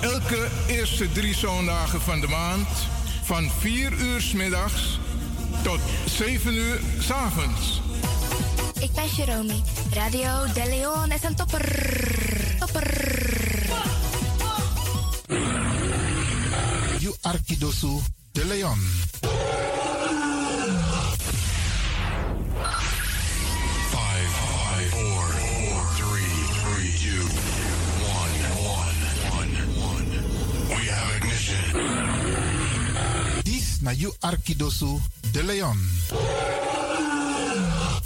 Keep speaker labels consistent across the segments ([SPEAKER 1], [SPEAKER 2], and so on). [SPEAKER 1] elke eerste drie zondagen van de maand van 4 uur s middags tot 7 uur s avonds.
[SPEAKER 2] Ik ben Jerome. Radio De Leon is een topper. Topper.
[SPEAKER 3] Radio Arquidoso de Leon.
[SPEAKER 4] Five, five, four, four, three, three, two, one, one, one, one. We have ignition.
[SPEAKER 3] This na you Arquidoso de Leon.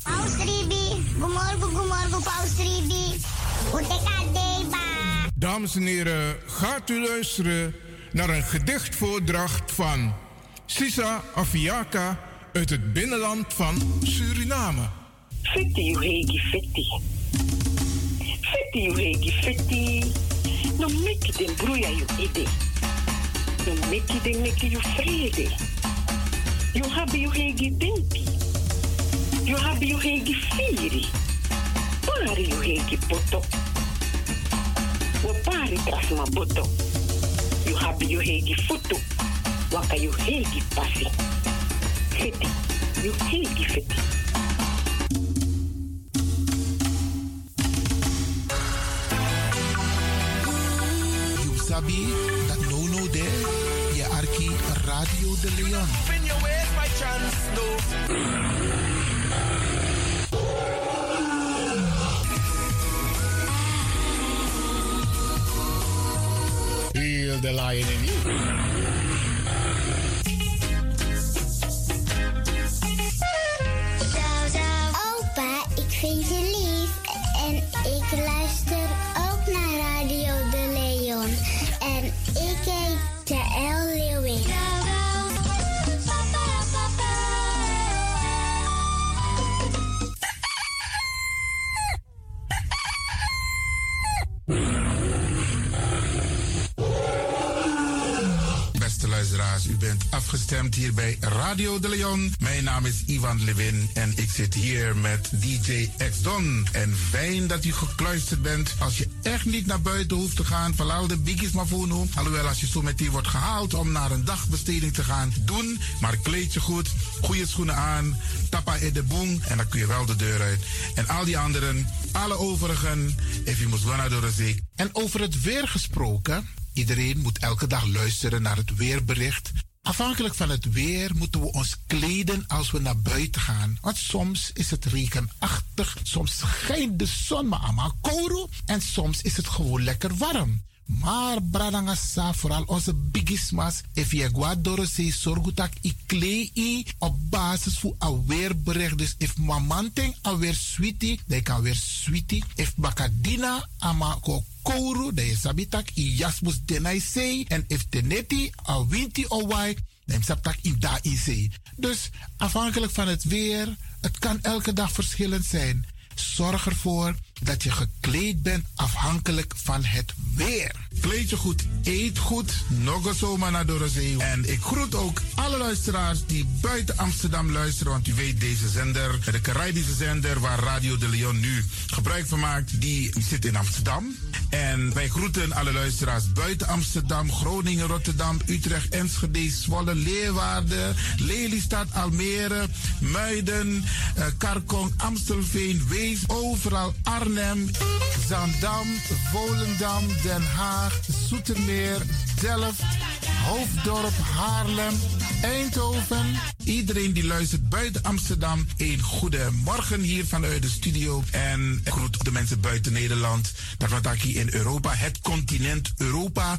[SPEAKER 5] Paus Ribi, gumorgo, gumorgo, Paus Ribi. Utekadeba.
[SPEAKER 1] Dames en heren, gaat u luisteren naar een gedichtvoordracht van Sisa Afiaka uit het binnenland van Suriname.
[SPEAKER 6] Fitti, you hegi, fitti. Fitti, you hegi, fitti. No make it them bruya you ide. No make it them make you vrede. You have you hegi denki. You have you hegi firi. Pari you hegi boto. Wa pari tras ma boto. You have you hegi futu. Waka you hegi pasi. Fitti, you hegi fitti.
[SPEAKER 3] You sabi that no no there. Je Arki Radio de Leon.
[SPEAKER 7] Heel de lion in you.
[SPEAKER 5] Opa, ik vind je lief. En ik luister ook naar Radio De Leon. En ik heet Jaël Leeuwin.
[SPEAKER 3] Beste luisteraars, u bent afgestemd hier bij Radio de Leon. Mijn naam is Ivan Levin en ik zit hier met DJ X Don. En fijn dat u gekluisterd bent. Als je echt niet naar buiten hoeft te gaan, verlaal de biggies maar voor nu. Alhoewel, als je zo meteen wordt gehaald om naar een dagbesteding te gaan, doen. Maar kleed je goed, goede schoenen aan, tappa in de boom en dan kun je wel de deur uit. En al die anderen, alle overigen, if you must go naar door de zee. En over het weer gesproken... Iedereen moet elke dag luisteren naar het weerbericht. Afhankelijk van het weer moeten we ons kleden als we naar buiten gaan. Want soms is het regenachtig, soms schijnt de zon maar allemaal kouro en soms is het gewoon lekker warm. Maar bradangasa, vooral onze bigismas, if je gaat door zee, zorg dat ik klei i op basis van een weerbericht. Dus if mamanting a weer sweetie, dan kan weer sweetie. If bakadina ama ko kouru, dan je sabitak i jasmus denai zee. En if teneti a winti o wai, dan sabitak i da i zee. Dus afhankelijk van het weer, het kan elke dag verschillend zijn. Zorg ervoor dat je gekleed bent afhankelijk van het weer. Kleed je goed, eet goed. Nog zomaar naar Dorozee. En ik groet ook alle luisteraars die buiten Amsterdam luisteren. Want u weet, deze zender, de Caribische zender waar Radio de Leon nu gebruik van maakt, die zit in Amsterdam. En wij groeten alle luisteraars buiten Amsterdam, Groningen, Rotterdam, Utrecht, Enschede, Zwolle, Leeuwarden, Lelystad, Almere, Muiden, eh, Karkong, Amstelveen, Wees, overal Arnhem, Zaandam, Volendam, Den Haag, Zoetermeer, Delft, Hoofddorp, Haarlem, Eindhoven. Iedereen die luistert buiten Amsterdam, een goede morgen hier vanuit de studio. En ik groet de mensen buiten Nederland, dat wat ik hier in Europa, het continent Europa.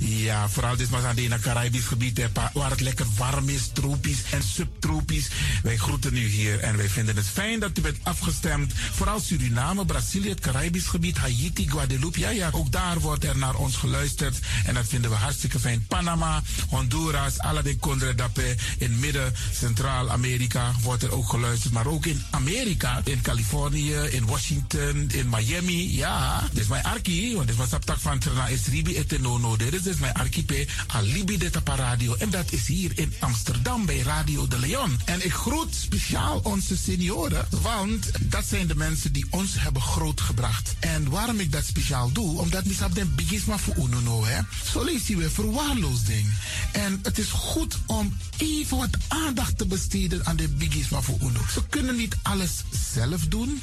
[SPEAKER 3] Ja, vooral dit was aan het Caribisch gebied, hè, pa, waar het lekker warm is, tropisch en subtropisch. Wij groeten u hier en wij vinden het fijn dat u bent afgestemd. Vooral Suriname, Brazilië, het Caribisch gebied, Haiti, Guadeloupe. Ja, ja, ook daar wordt er naar ons geluisterd en dat vinden we hartstikke fijn. Panama, Honduras, Aladdin Condre Dapé, in Midden, Centraal-Amerika wordt er ook geluisterd. Maar ook in Amerika, in Californië, in Washington, in Miami. Ja, dit is mijn arki, want dit was op tak van Trena is Ribi et Nono. Dit is dus mijn archipel Alibi de Tapa Radio. En dat is hier in Amsterdam bij Radio de Leon. En ik groet speciaal onze senioren, want dat zijn de mensen die ons hebben grootgebracht. En waarom ik dat speciaal doe, omdat misap den bigisma voor uno hè. Zo lezen we verwaarloosding. En het is goed om even wat aandacht te besteden aan de bigisma voor uno. Ze kunnen niet alles zelf doen.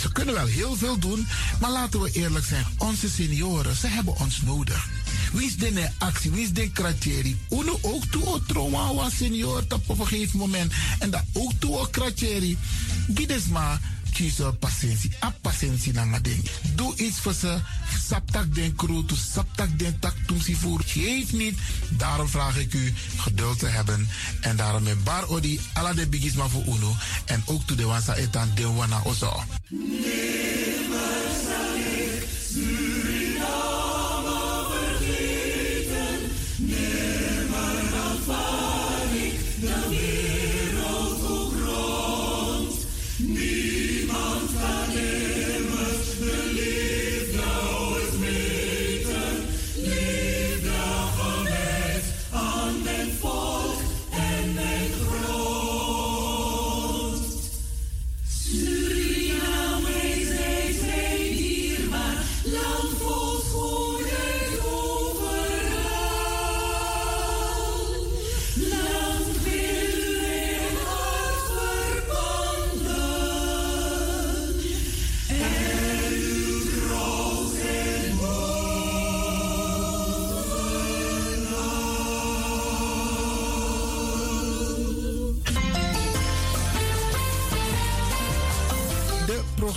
[SPEAKER 3] Ze kunnen wel heel veel doen, maar laten we eerlijk zijn. Onze senioren, ze hebben ons nodig. Wie is de ne actie, wie is de kratjeri? Uno ook toe trauma was senior op een gegeven moment. En dat ook toe kratjeri. Gides maar kiezen patiëntie. A patiëntie na nga ding. Doe iets voor ze. Saptak den kroot, saptak den tak tumsi voer. Geef niet. Daarom vraag ik u geduld te hebben. En daarom met bar odi, ala de bigisma voor uno. En ook toe de wansa etan de wana ozo.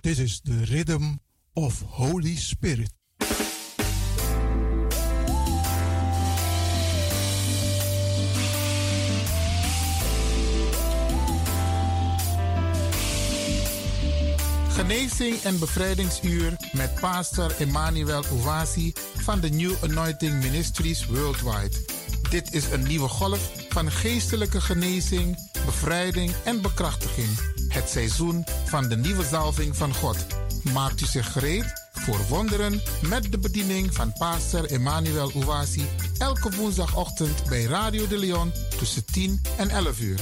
[SPEAKER 8] This is the rhythm of Holy Spirit.
[SPEAKER 3] Genezing en bevrijdingsuur met pastor Emmanuel Owasi van de New Anointing Ministries Worldwide. Dit is een nieuwe golf van geestelijke genezing, bevrijding en bekrachtiging het seizoen van de nieuwe zalving van God. Maakt u zich gereed voor wonderen met de bediening van Pastor Emmanuel Ouasi elke woensdagochtend bij Radio de Leon tussen 10 en 11 uur.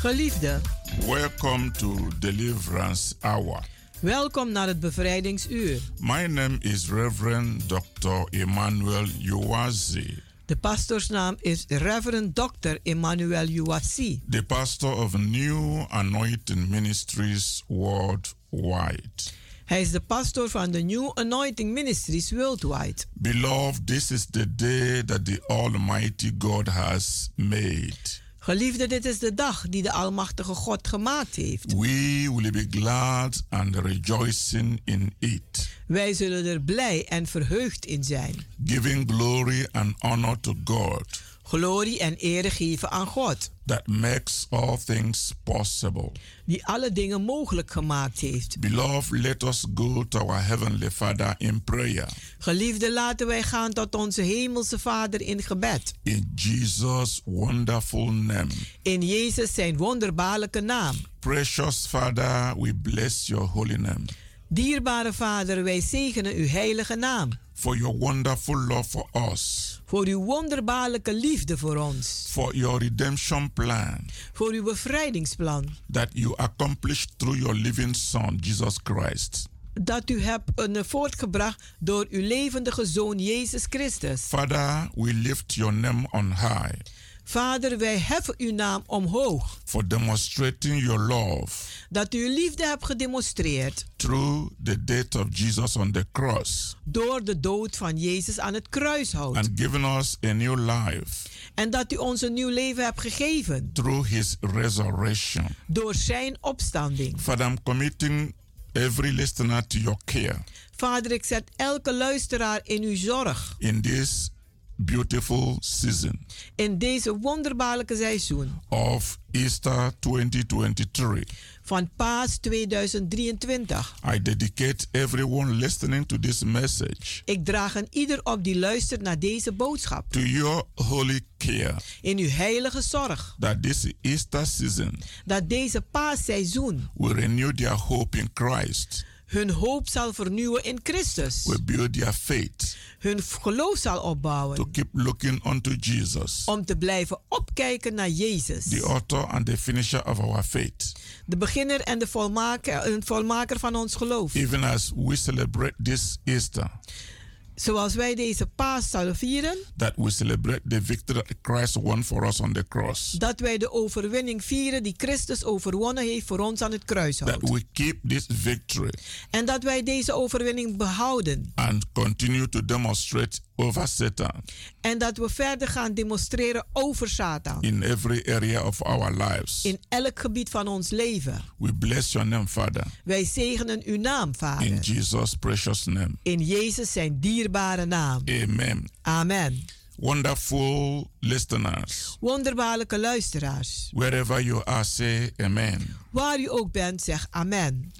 [SPEAKER 9] Geliefde,
[SPEAKER 10] welcome to Deliverance Hour.
[SPEAKER 9] Welkom naar het bevrijdingsuur.
[SPEAKER 10] My name is Reverend Dr. Emmanuel Uwazi.
[SPEAKER 9] De pastorsnaam is Reverend Dr. Emmanuel Uwazi.
[SPEAKER 10] The pastor of New Anointing Ministries worldwide.
[SPEAKER 9] Hij is de pastor van de New Anointing Ministries worldwide.
[SPEAKER 10] Beloved, this is the day that the Almighty God has made.
[SPEAKER 9] Geliefde, dit is de dag die de Almachtige God gemaakt heeft.
[SPEAKER 10] We will be glad and rejoicing in it,
[SPEAKER 9] Wij zullen er blij en verheugd in zijn.
[SPEAKER 10] giving glory and honor to God
[SPEAKER 9] Glorie en eer geven aan God,
[SPEAKER 10] that makes all things possible.
[SPEAKER 9] die alle dingen mogelijk gemaakt heeft.
[SPEAKER 10] Beloved, let us go to our Heavenly Father in prayer.
[SPEAKER 9] Geliefde, laten wij gaan tot onze Hemelse Vader in gebed.
[SPEAKER 10] In Jesus' wonderful name.
[SPEAKER 9] In Jezus zijn wonderbaarlijke naam.
[SPEAKER 10] Precious Father, we bless your holy name
[SPEAKER 9] Dierbare Vader, wij zegenen uw heilige naam.
[SPEAKER 10] for your wonderful love for us,
[SPEAKER 9] Voor uw wonderbaarlijke liefde voor ons.
[SPEAKER 10] for your redemption plan
[SPEAKER 9] Voor uw bevrijdingsplan.
[SPEAKER 10] that you accomplished through your living Son, Jesus Christ.
[SPEAKER 9] Dat u hebt eh, voortgebracht door uw levendige Zoon Jezus Christus.
[SPEAKER 10] Father, we lift your name on high
[SPEAKER 9] Vader, wij heffen uw naam omhoog.
[SPEAKER 10] for demonstrating your love
[SPEAKER 9] Dat u uw liefde hebt gedemonstreerd
[SPEAKER 10] through the death of Jesus on the cross
[SPEAKER 9] door de dood van Jezus aan het kruishout.
[SPEAKER 10] and giving us a new life
[SPEAKER 9] En dat u ons een nieuw leven hebt gegeven
[SPEAKER 10] through his resurrection.
[SPEAKER 9] door zijn opstanding.
[SPEAKER 10] Father, I'm committing every listener to your care
[SPEAKER 9] Vader, ik zet elke luisteraar in uw zorg
[SPEAKER 10] in this beautiful season
[SPEAKER 9] in deze wonderbaarlijke seizoen
[SPEAKER 10] of Easter 2023.
[SPEAKER 9] van Paas 2023.
[SPEAKER 10] I dedicate everyone listening to this message
[SPEAKER 9] Ik draag een ieder op die luistert naar deze boodschap
[SPEAKER 10] to your holy care
[SPEAKER 9] in uw heilige zorg
[SPEAKER 10] that this Easter season
[SPEAKER 9] dat deze Paasseizoen
[SPEAKER 10] will renew their hope in Christ,
[SPEAKER 9] hun hoop zal vernieuwen in Christus,
[SPEAKER 10] will build their faith
[SPEAKER 9] hun geloof zal
[SPEAKER 10] to
[SPEAKER 9] opbouwen
[SPEAKER 10] keep looking unto Jesus,
[SPEAKER 9] om te blijven opkijken naar Jezus,
[SPEAKER 10] the author and the finisher of our faith.
[SPEAKER 9] de beginner en de volmaker, en volmaker van ons geloof.
[SPEAKER 10] Even as we celebrate this Easter,
[SPEAKER 9] Zoals wij deze paas zullen vieren,
[SPEAKER 10] that we celebrate the victory that Christ won for us on the cross,
[SPEAKER 9] dat wij de overwinning vieren die Christus overwonnen heeft voor ons aan het
[SPEAKER 10] that
[SPEAKER 9] kruishout.
[SPEAKER 10] we keep this victory
[SPEAKER 9] En dat wij deze overwinning behouden
[SPEAKER 10] and continue to demonstrate over Satan
[SPEAKER 9] en dat we verder gaan demonstreren over Satan
[SPEAKER 10] in every area of our lives.
[SPEAKER 9] in elk gebied van ons leven.
[SPEAKER 10] We bless your name, Father,
[SPEAKER 9] Wij zegenen uw naam,
[SPEAKER 10] in
[SPEAKER 9] Vader,
[SPEAKER 10] Jesus' precious name.
[SPEAKER 9] in Jezus zijn dierbare naam.
[SPEAKER 10] Amen.
[SPEAKER 9] Amen.
[SPEAKER 10] Wonderful listeners,
[SPEAKER 9] Wonderbaarlijke luisteraars,
[SPEAKER 10] wherever you are, say Amen.
[SPEAKER 9] waar u ook bent, zeg amen.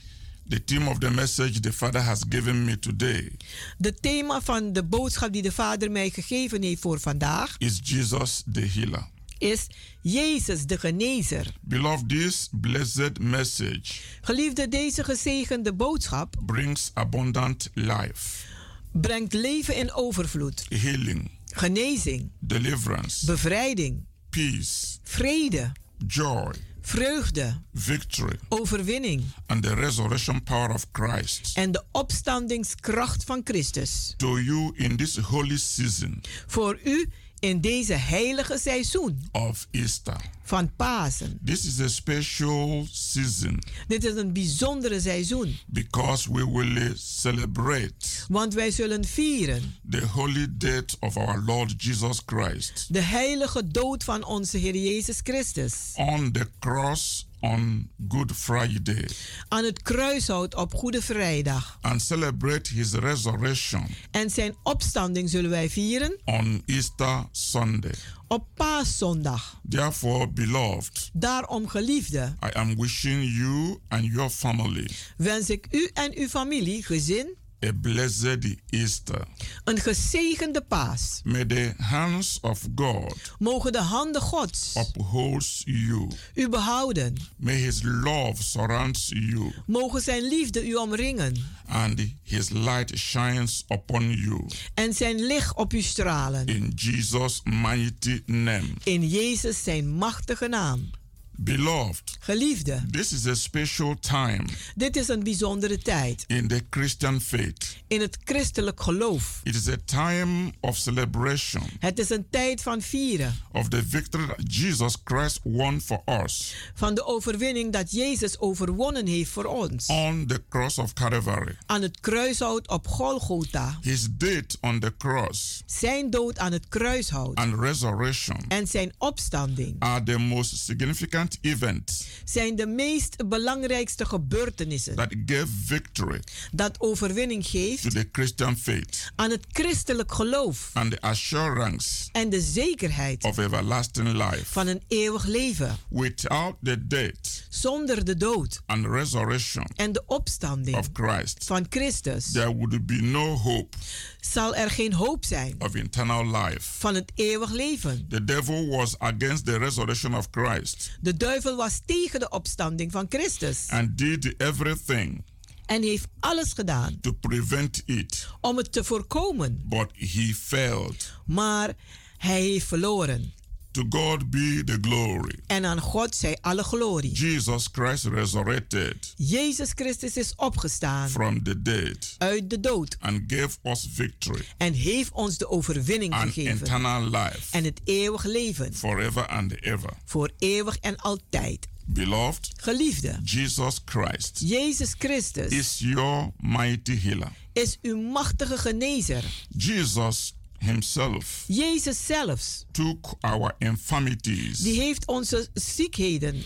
[SPEAKER 10] The theme of the message the Father has given me today
[SPEAKER 9] De thema van de boodschap die de Vader mij gegeven heeft voor vandaag
[SPEAKER 10] is Jesus the Healer.
[SPEAKER 9] is Jezus de Genezer.
[SPEAKER 10] Beloved, this blessed message
[SPEAKER 9] Geliefde, deze gezegende boodschap
[SPEAKER 10] brings abundant life,
[SPEAKER 9] brengt leven in overvloed,
[SPEAKER 10] healing,
[SPEAKER 9] genezing,
[SPEAKER 10] deliverance,
[SPEAKER 9] bevrijding,
[SPEAKER 10] peace,
[SPEAKER 9] vrede,
[SPEAKER 10] joy,
[SPEAKER 9] vreugde,
[SPEAKER 10] victory,
[SPEAKER 9] overwinning
[SPEAKER 10] and the resurrection power of Christ
[SPEAKER 9] en de opstandingskracht van Christus.
[SPEAKER 10] to you in this holy season
[SPEAKER 9] Voor u in deze heilige seizoen
[SPEAKER 10] of Easter.
[SPEAKER 9] van Pasen.
[SPEAKER 10] This is a special season
[SPEAKER 9] Dit is een bijzondere seizoen,
[SPEAKER 10] because we will celebrate
[SPEAKER 9] want wij zullen vieren
[SPEAKER 10] the holy death of our Lord Jesus Christ
[SPEAKER 9] de heilige dood van onze Heer Jezus Christus
[SPEAKER 10] on the cross on Good Friday
[SPEAKER 9] aan het kruishout op Goede Vrijdag.
[SPEAKER 10] and celebrate his resurrection
[SPEAKER 9] En zijn opstanding zullen wij vieren
[SPEAKER 10] on Easter Sunday.
[SPEAKER 9] op Paaszondag.
[SPEAKER 10] Therefore, beloved,
[SPEAKER 9] Daarom, geliefde,
[SPEAKER 10] I am wishing you and your family
[SPEAKER 9] wens ik u en uw familie, gezin,
[SPEAKER 10] a blessed Easter.
[SPEAKER 9] een gezegende paas.
[SPEAKER 10] May the hands of God
[SPEAKER 9] Mogen de handen Gods
[SPEAKER 10] uphold you.
[SPEAKER 9] u behouden.
[SPEAKER 10] May his love surround you
[SPEAKER 9] Mogen zijn liefde u omringen
[SPEAKER 10] and his light shines upon you.
[SPEAKER 9] en zijn licht op u stralen.
[SPEAKER 10] In Jesus' mighty name.
[SPEAKER 9] In Jezus zijn machtige naam.
[SPEAKER 10] Beloved,
[SPEAKER 9] Geliefde,
[SPEAKER 10] this is a special time
[SPEAKER 9] dit is een bijzondere tijd
[SPEAKER 10] in the Christian faith.
[SPEAKER 9] in het christelijk geloof.
[SPEAKER 10] It is a time of celebration
[SPEAKER 9] Het is een tijd van vieren,
[SPEAKER 10] of the victory that Jesus Christ won for us
[SPEAKER 9] van de overwinning dat Jezus overwonnen heeft voor ons.
[SPEAKER 10] on the cross of Calvary.
[SPEAKER 9] Aan het kruishout op Golgotha,
[SPEAKER 10] His death on the cross
[SPEAKER 9] zijn dood aan het kruishout
[SPEAKER 10] and resurrection
[SPEAKER 9] en zijn opstanding
[SPEAKER 10] are the most significant events
[SPEAKER 9] zijn de meest belangrijkste gebeurtenissen
[SPEAKER 10] that gave victory
[SPEAKER 9] dat overwinning
[SPEAKER 10] to
[SPEAKER 9] geeft
[SPEAKER 10] the Christian faith
[SPEAKER 9] aan het christelijk geloof
[SPEAKER 10] and the assurance
[SPEAKER 9] en de zekerheid
[SPEAKER 10] of everlasting life.
[SPEAKER 9] van een eeuwig leven
[SPEAKER 10] Without the death
[SPEAKER 9] zonder de dood
[SPEAKER 10] and resurrection
[SPEAKER 9] en de opstanding
[SPEAKER 10] of Christ,
[SPEAKER 9] van Christus
[SPEAKER 10] there would be no hope
[SPEAKER 9] zal er geen hoop zijn
[SPEAKER 10] of eternal life.
[SPEAKER 9] van het eeuwig leven.
[SPEAKER 10] The devil was against the resurrection of Christ
[SPEAKER 9] De duivel was tegen de opstanding van Christus
[SPEAKER 10] and did everything
[SPEAKER 9] en heeft alles gedaan
[SPEAKER 10] to prevent it,
[SPEAKER 9] om het te voorkomen,
[SPEAKER 10] but he failed.
[SPEAKER 9] maar hij heeft verloren.
[SPEAKER 10] To God be the glory.
[SPEAKER 9] En aan God zij alle glorie.
[SPEAKER 10] Jesus Christ resurrected
[SPEAKER 9] Jezus Christus is opgestaan
[SPEAKER 10] from the dead
[SPEAKER 9] uit de dood
[SPEAKER 10] and gave us victory
[SPEAKER 9] en heeft ons de overwinning
[SPEAKER 10] and
[SPEAKER 9] gegeven
[SPEAKER 10] eternal life
[SPEAKER 9] en het eeuwig leven
[SPEAKER 10] forever and ever.
[SPEAKER 9] voor eeuwig en altijd.
[SPEAKER 10] Beloved,
[SPEAKER 9] Geliefde,
[SPEAKER 10] Jesus Christ
[SPEAKER 9] Jezus Christus
[SPEAKER 10] is your mighty healer.
[SPEAKER 9] is uw machtige genezer.
[SPEAKER 10] Jesus himself
[SPEAKER 9] Jezus zelfs,
[SPEAKER 10] took our infirmities.
[SPEAKER 9] die heeft onze ziekheden.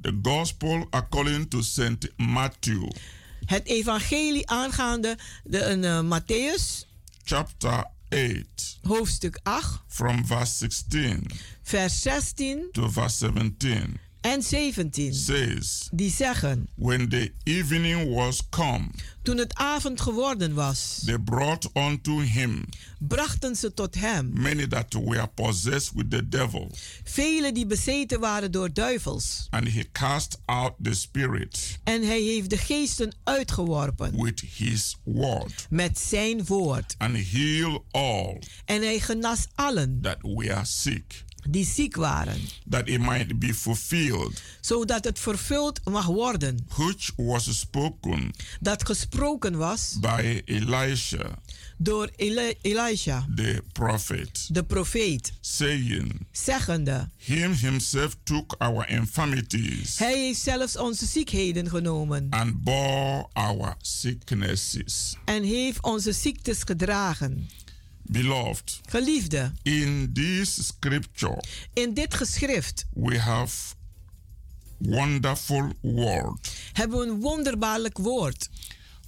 [SPEAKER 10] The gospel according to St. Matthew,
[SPEAKER 9] Het evangelie aangaande de, een, eh, Matthäus,
[SPEAKER 10] chapter 8,
[SPEAKER 9] hoofdstuk 8,
[SPEAKER 10] from verse 16
[SPEAKER 9] vers 16
[SPEAKER 10] to verse 17,
[SPEAKER 9] en 17.
[SPEAKER 10] says,
[SPEAKER 9] Die zeggen,
[SPEAKER 10] When the evening was come,
[SPEAKER 9] toen het avond geworden was,
[SPEAKER 10] they brought unto him
[SPEAKER 9] brachten ze tot hem
[SPEAKER 10] many that were possessed with the devil,
[SPEAKER 9] velen die bezeten waren door duivels.
[SPEAKER 10] and he cast out the spirit
[SPEAKER 9] En hij heeft de geesten uitgeworpen
[SPEAKER 10] with his word,
[SPEAKER 9] met zijn woord.
[SPEAKER 10] and healed all
[SPEAKER 9] En hij genas allen
[SPEAKER 10] that were sick,
[SPEAKER 9] die ziek waren,
[SPEAKER 10] that it might be fulfilled
[SPEAKER 9] zodat het vervuld mag worden.
[SPEAKER 10] which was spoken
[SPEAKER 9] Dat gesproken was
[SPEAKER 10] by Elisha
[SPEAKER 9] door Eli- Elisha,
[SPEAKER 10] the prophet,
[SPEAKER 9] de profeet,
[SPEAKER 10] saying,
[SPEAKER 9] zeggende:
[SPEAKER 10] Him himself took our infirmities
[SPEAKER 9] Hij heeft zelfs onze ziekheden genomen
[SPEAKER 10] and bore our sicknesses.
[SPEAKER 9] en heeft onze ziektes gedragen.
[SPEAKER 10] Beloved,
[SPEAKER 9] Geliefde,
[SPEAKER 10] in this scripture,
[SPEAKER 9] in dit geschrift
[SPEAKER 10] we have wonderful word.
[SPEAKER 9] hebben we een wonderbaarlijk woord.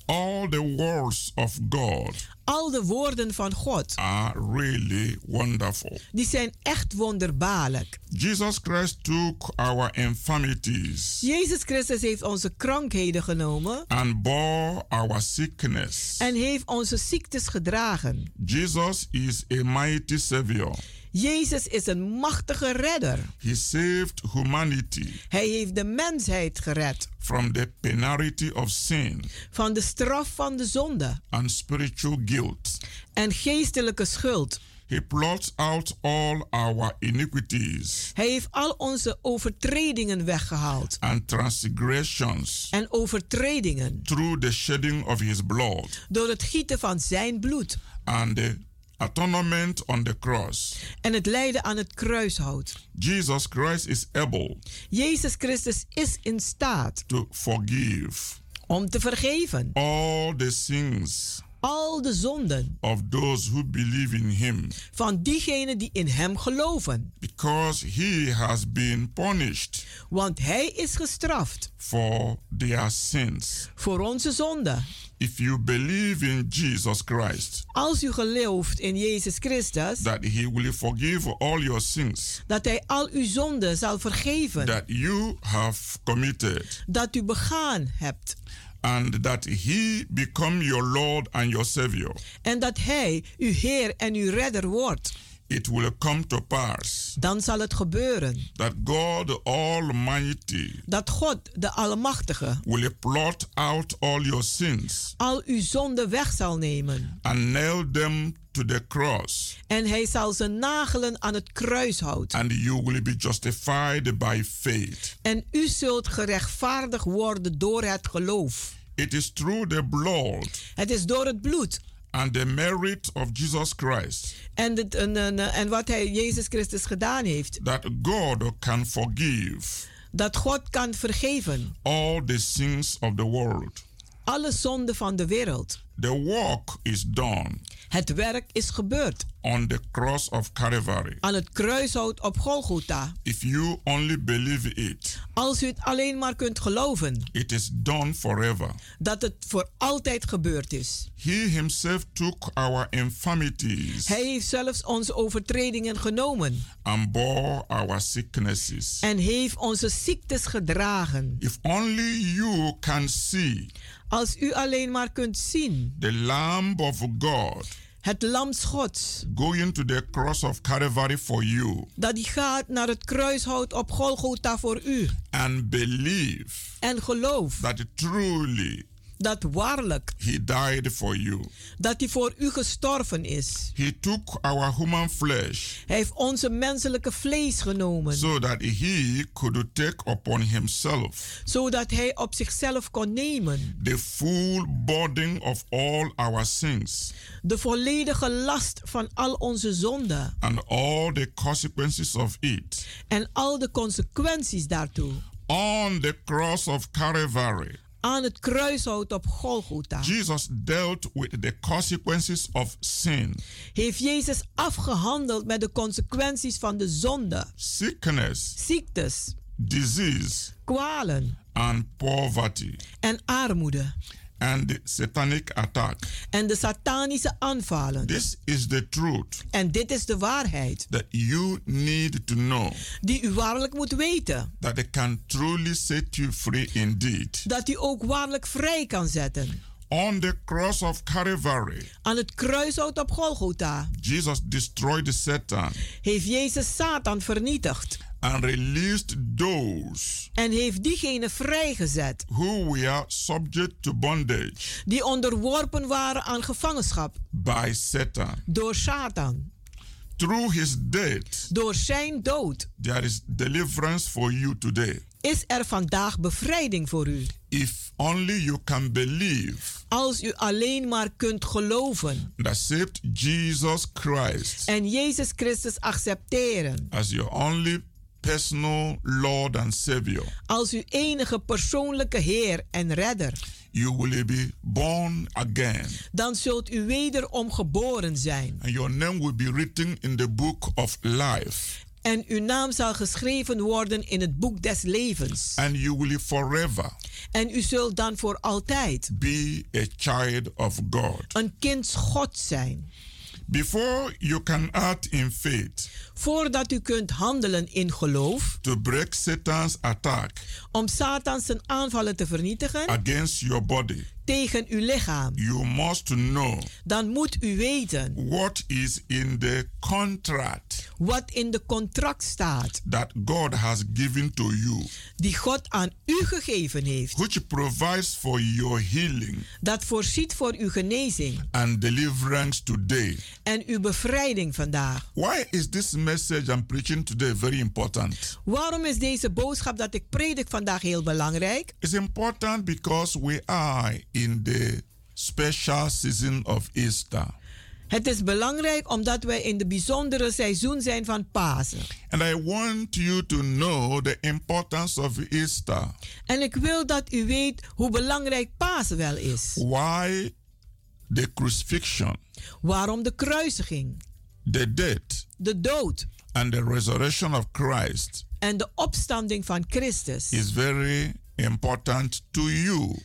[SPEAKER 10] All the words of God
[SPEAKER 9] Al de woorden van God,
[SPEAKER 10] are really wonderful.
[SPEAKER 9] die zijn echt wonderbaarlijk.
[SPEAKER 10] Jesus Christ took our infirmities
[SPEAKER 9] Jezus Christus heeft onze krankheden genomen
[SPEAKER 10] and bore our sickness.
[SPEAKER 9] en heeft onze ziektes gedragen.
[SPEAKER 10] Jesus is a mighty Savior.
[SPEAKER 9] Jezus is een machtige redder.
[SPEAKER 10] He saved humanity
[SPEAKER 9] Hij heeft de mensheid gered
[SPEAKER 10] from the penalty of sin
[SPEAKER 9] van de straf van de zonde
[SPEAKER 10] and spiritual guilt.
[SPEAKER 9] en geestelijke schuld.
[SPEAKER 10] He blots out all our iniquities
[SPEAKER 9] Hij heeft al onze overtredingen weggehaald
[SPEAKER 10] and transgressions
[SPEAKER 9] en overtredingen
[SPEAKER 10] through the shedding of his blood
[SPEAKER 9] door het gieten van zijn bloed
[SPEAKER 10] and the atonement on the cross.
[SPEAKER 9] en het lijden aan het kruishout.
[SPEAKER 10] Jesus Christ is able
[SPEAKER 9] Jezus Christus is in staat
[SPEAKER 10] to forgive
[SPEAKER 9] om te vergeven
[SPEAKER 10] all the sins
[SPEAKER 9] al de zonden
[SPEAKER 10] of those who believe in him
[SPEAKER 9] van diegenen die in hem geloven,
[SPEAKER 10] because he has been punished
[SPEAKER 9] want hij is gestraft
[SPEAKER 10] for their sins.
[SPEAKER 9] voor onze zonden.
[SPEAKER 10] If you believe in Jesus Christ,
[SPEAKER 9] Als u gelooft in Jezus Christus,
[SPEAKER 10] that he will forgive all your sins
[SPEAKER 9] dat hij al uw zonden zal vergeven
[SPEAKER 10] that you have committed
[SPEAKER 9] dat u begaan hebt
[SPEAKER 10] and that he become your lord and your savior
[SPEAKER 9] en dat hij uw Heer en uw Redder wordt.
[SPEAKER 1] it will come to pass
[SPEAKER 9] dan zal het gebeuren
[SPEAKER 1] that God the Almighty
[SPEAKER 9] dat God, de Almachtige,
[SPEAKER 1] will blot out all your sins
[SPEAKER 9] al uw zonden weg zal nemen.
[SPEAKER 1] and nail them to the cross,
[SPEAKER 9] En hij zal zijn nagelen aan het kruis houden.
[SPEAKER 1] and you will be justified by faith.
[SPEAKER 9] En u zult gerechtvaardigd worden door het geloof.
[SPEAKER 1] It is through the blood
[SPEAKER 9] Het is door het bloed
[SPEAKER 1] and the merit of Jesus Christ
[SPEAKER 9] en, het, en, en, en wat hij, Jezus Christus, gedaan heeft.
[SPEAKER 1] that God can forgive
[SPEAKER 9] Dat God kan vergeven
[SPEAKER 1] all the sins of the world.
[SPEAKER 9] alle zonden van de wereld.
[SPEAKER 1] The work is done
[SPEAKER 9] Het werk is gebeurd
[SPEAKER 1] on the cross of Calvary.
[SPEAKER 9] aan het kruishout op Golgotha.
[SPEAKER 1] If you only believe it,
[SPEAKER 9] Als u het alleen maar kunt geloven
[SPEAKER 1] it is done forever.
[SPEAKER 9] dat het voor altijd gebeurd is.
[SPEAKER 1] He himself took our infirmities
[SPEAKER 9] Hij heeft zelfs onze overtredingen genomen
[SPEAKER 1] and bore our sicknesses.
[SPEAKER 9] en heeft onze ziektes gedragen.
[SPEAKER 1] If only you can see
[SPEAKER 9] Als u alleen maar kunt zien
[SPEAKER 1] the Lamb of God
[SPEAKER 9] het lam Gods
[SPEAKER 1] going to the cross of Calvary for you
[SPEAKER 9] dat die gaat naar het kruishout op Golgotha voor u
[SPEAKER 1] and believe
[SPEAKER 9] en geloof
[SPEAKER 1] that truly
[SPEAKER 9] dat waarlijk
[SPEAKER 1] He died for you.
[SPEAKER 9] dat hij voor u gestorven is.
[SPEAKER 1] He took our human flesh
[SPEAKER 9] Hij heeft onze menselijke vlees genomen
[SPEAKER 1] so that He could take upon Himself
[SPEAKER 9] zodat hij op zichzelf kon nemen
[SPEAKER 1] the full burden of all our sins
[SPEAKER 9] de volledige last van al onze zonden
[SPEAKER 1] and all the consequences of it.
[SPEAKER 9] en al de consequenties daartoe
[SPEAKER 1] On the cross of Calvary,
[SPEAKER 9] aan het kruishout op Golgotha.
[SPEAKER 1] Jesus dealt with the consequences of sin,
[SPEAKER 9] Heeft Jezus afgehandeld met de consequenties van de zonde,
[SPEAKER 1] sickness,
[SPEAKER 9] ziektes,
[SPEAKER 1] disease,
[SPEAKER 9] kwalen
[SPEAKER 1] and poverty,
[SPEAKER 9] en armoede
[SPEAKER 1] and the satanic attack.
[SPEAKER 9] en de satanische aanvallen.
[SPEAKER 1] This is the truth
[SPEAKER 9] En dit is de waarheid
[SPEAKER 1] that you need to know.
[SPEAKER 9] die u waarlijk moet weten.
[SPEAKER 1] that they can truly set you free indeed.
[SPEAKER 9] Dat u ook waarlijk vrij kan zetten.
[SPEAKER 1] On the cross of Calvary,
[SPEAKER 9] Aan het kruishout op Golgotha
[SPEAKER 1] Jesus destroyed Satan
[SPEAKER 9] heeft Jezus Satan vernietigd.
[SPEAKER 1] and released those
[SPEAKER 9] En heeft diegenen vrijgezet
[SPEAKER 1] who were subject to bondage
[SPEAKER 9] die onderworpen waren aan gevangenschap
[SPEAKER 1] by Satan.
[SPEAKER 9] door Satan.
[SPEAKER 1] Through his death,
[SPEAKER 9] Door zijn dood
[SPEAKER 1] there is deliverance for you today.
[SPEAKER 9] is er vandaag bevrijding voor u.
[SPEAKER 1] If only you can believe
[SPEAKER 9] Als u alleen maar kunt geloven
[SPEAKER 1] and accept Jesus Christ
[SPEAKER 9] en Jezus Christus accepteren.
[SPEAKER 1] as your only personal Lord and Savior,
[SPEAKER 9] Als uw enige persoonlijke Heer en Redder.
[SPEAKER 1] you will be born again.
[SPEAKER 9] Dan zult u wederom geboren zijn.
[SPEAKER 1] and your name will be written in the book of life
[SPEAKER 9] En uw naam zal geschreven worden in het boek des levens.
[SPEAKER 1] and you will forever
[SPEAKER 9] En u zult dan voor altijd
[SPEAKER 1] be a child of god
[SPEAKER 9] een kind Gods zijn.
[SPEAKER 1] before you can act in faith
[SPEAKER 9] Voordat u kunt handelen in geloof
[SPEAKER 1] to break satan's attack
[SPEAKER 9] om Satan zijn aanvallen te vernietigen
[SPEAKER 1] against your body
[SPEAKER 9] tegen uw lichaam,
[SPEAKER 1] you must know
[SPEAKER 9] dan moet u weten
[SPEAKER 1] what is in the contract
[SPEAKER 9] wat in de contract staat
[SPEAKER 1] that god has given to you
[SPEAKER 9] die God aan u gegeven heeft.
[SPEAKER 1] which provides for your healing
[SPEAKER 9] Dat voorziet voor uw genezing
[SPEAKER 1] and deliverance today
[SPEAKER 9] en uw bevrijding vandaag.
[SPEAKER 1] why is this message i'm preaching today very important
[SPEAKER 9] Waarom is deze boodschap dat ik predik vandaag heel belangrijk?
[SPEAKER 1] It's important because we are in the special season of Easter.
[SPEAKER 9] Het is belangrijk omdat wij in de bijzondere seizoen zijn van Pasen.
[SPEAKER 1] And I want you to know the importance of Easter.
[SPEAKER 9] En ik wil dat u weet hoe belangrijk Pasen wel is.
[SPEAKER 1] Why the crucifixion,
[SPEAKER 9] Waarom de kruisiging,
[SPEAKER 1] the death,
[SPEAKER 9] de dood
[SPEAKER 1] and the resurrection of Christ
[SPEAKER 9] en de opstanding van Christus
[SPEAKER 1] is very important to you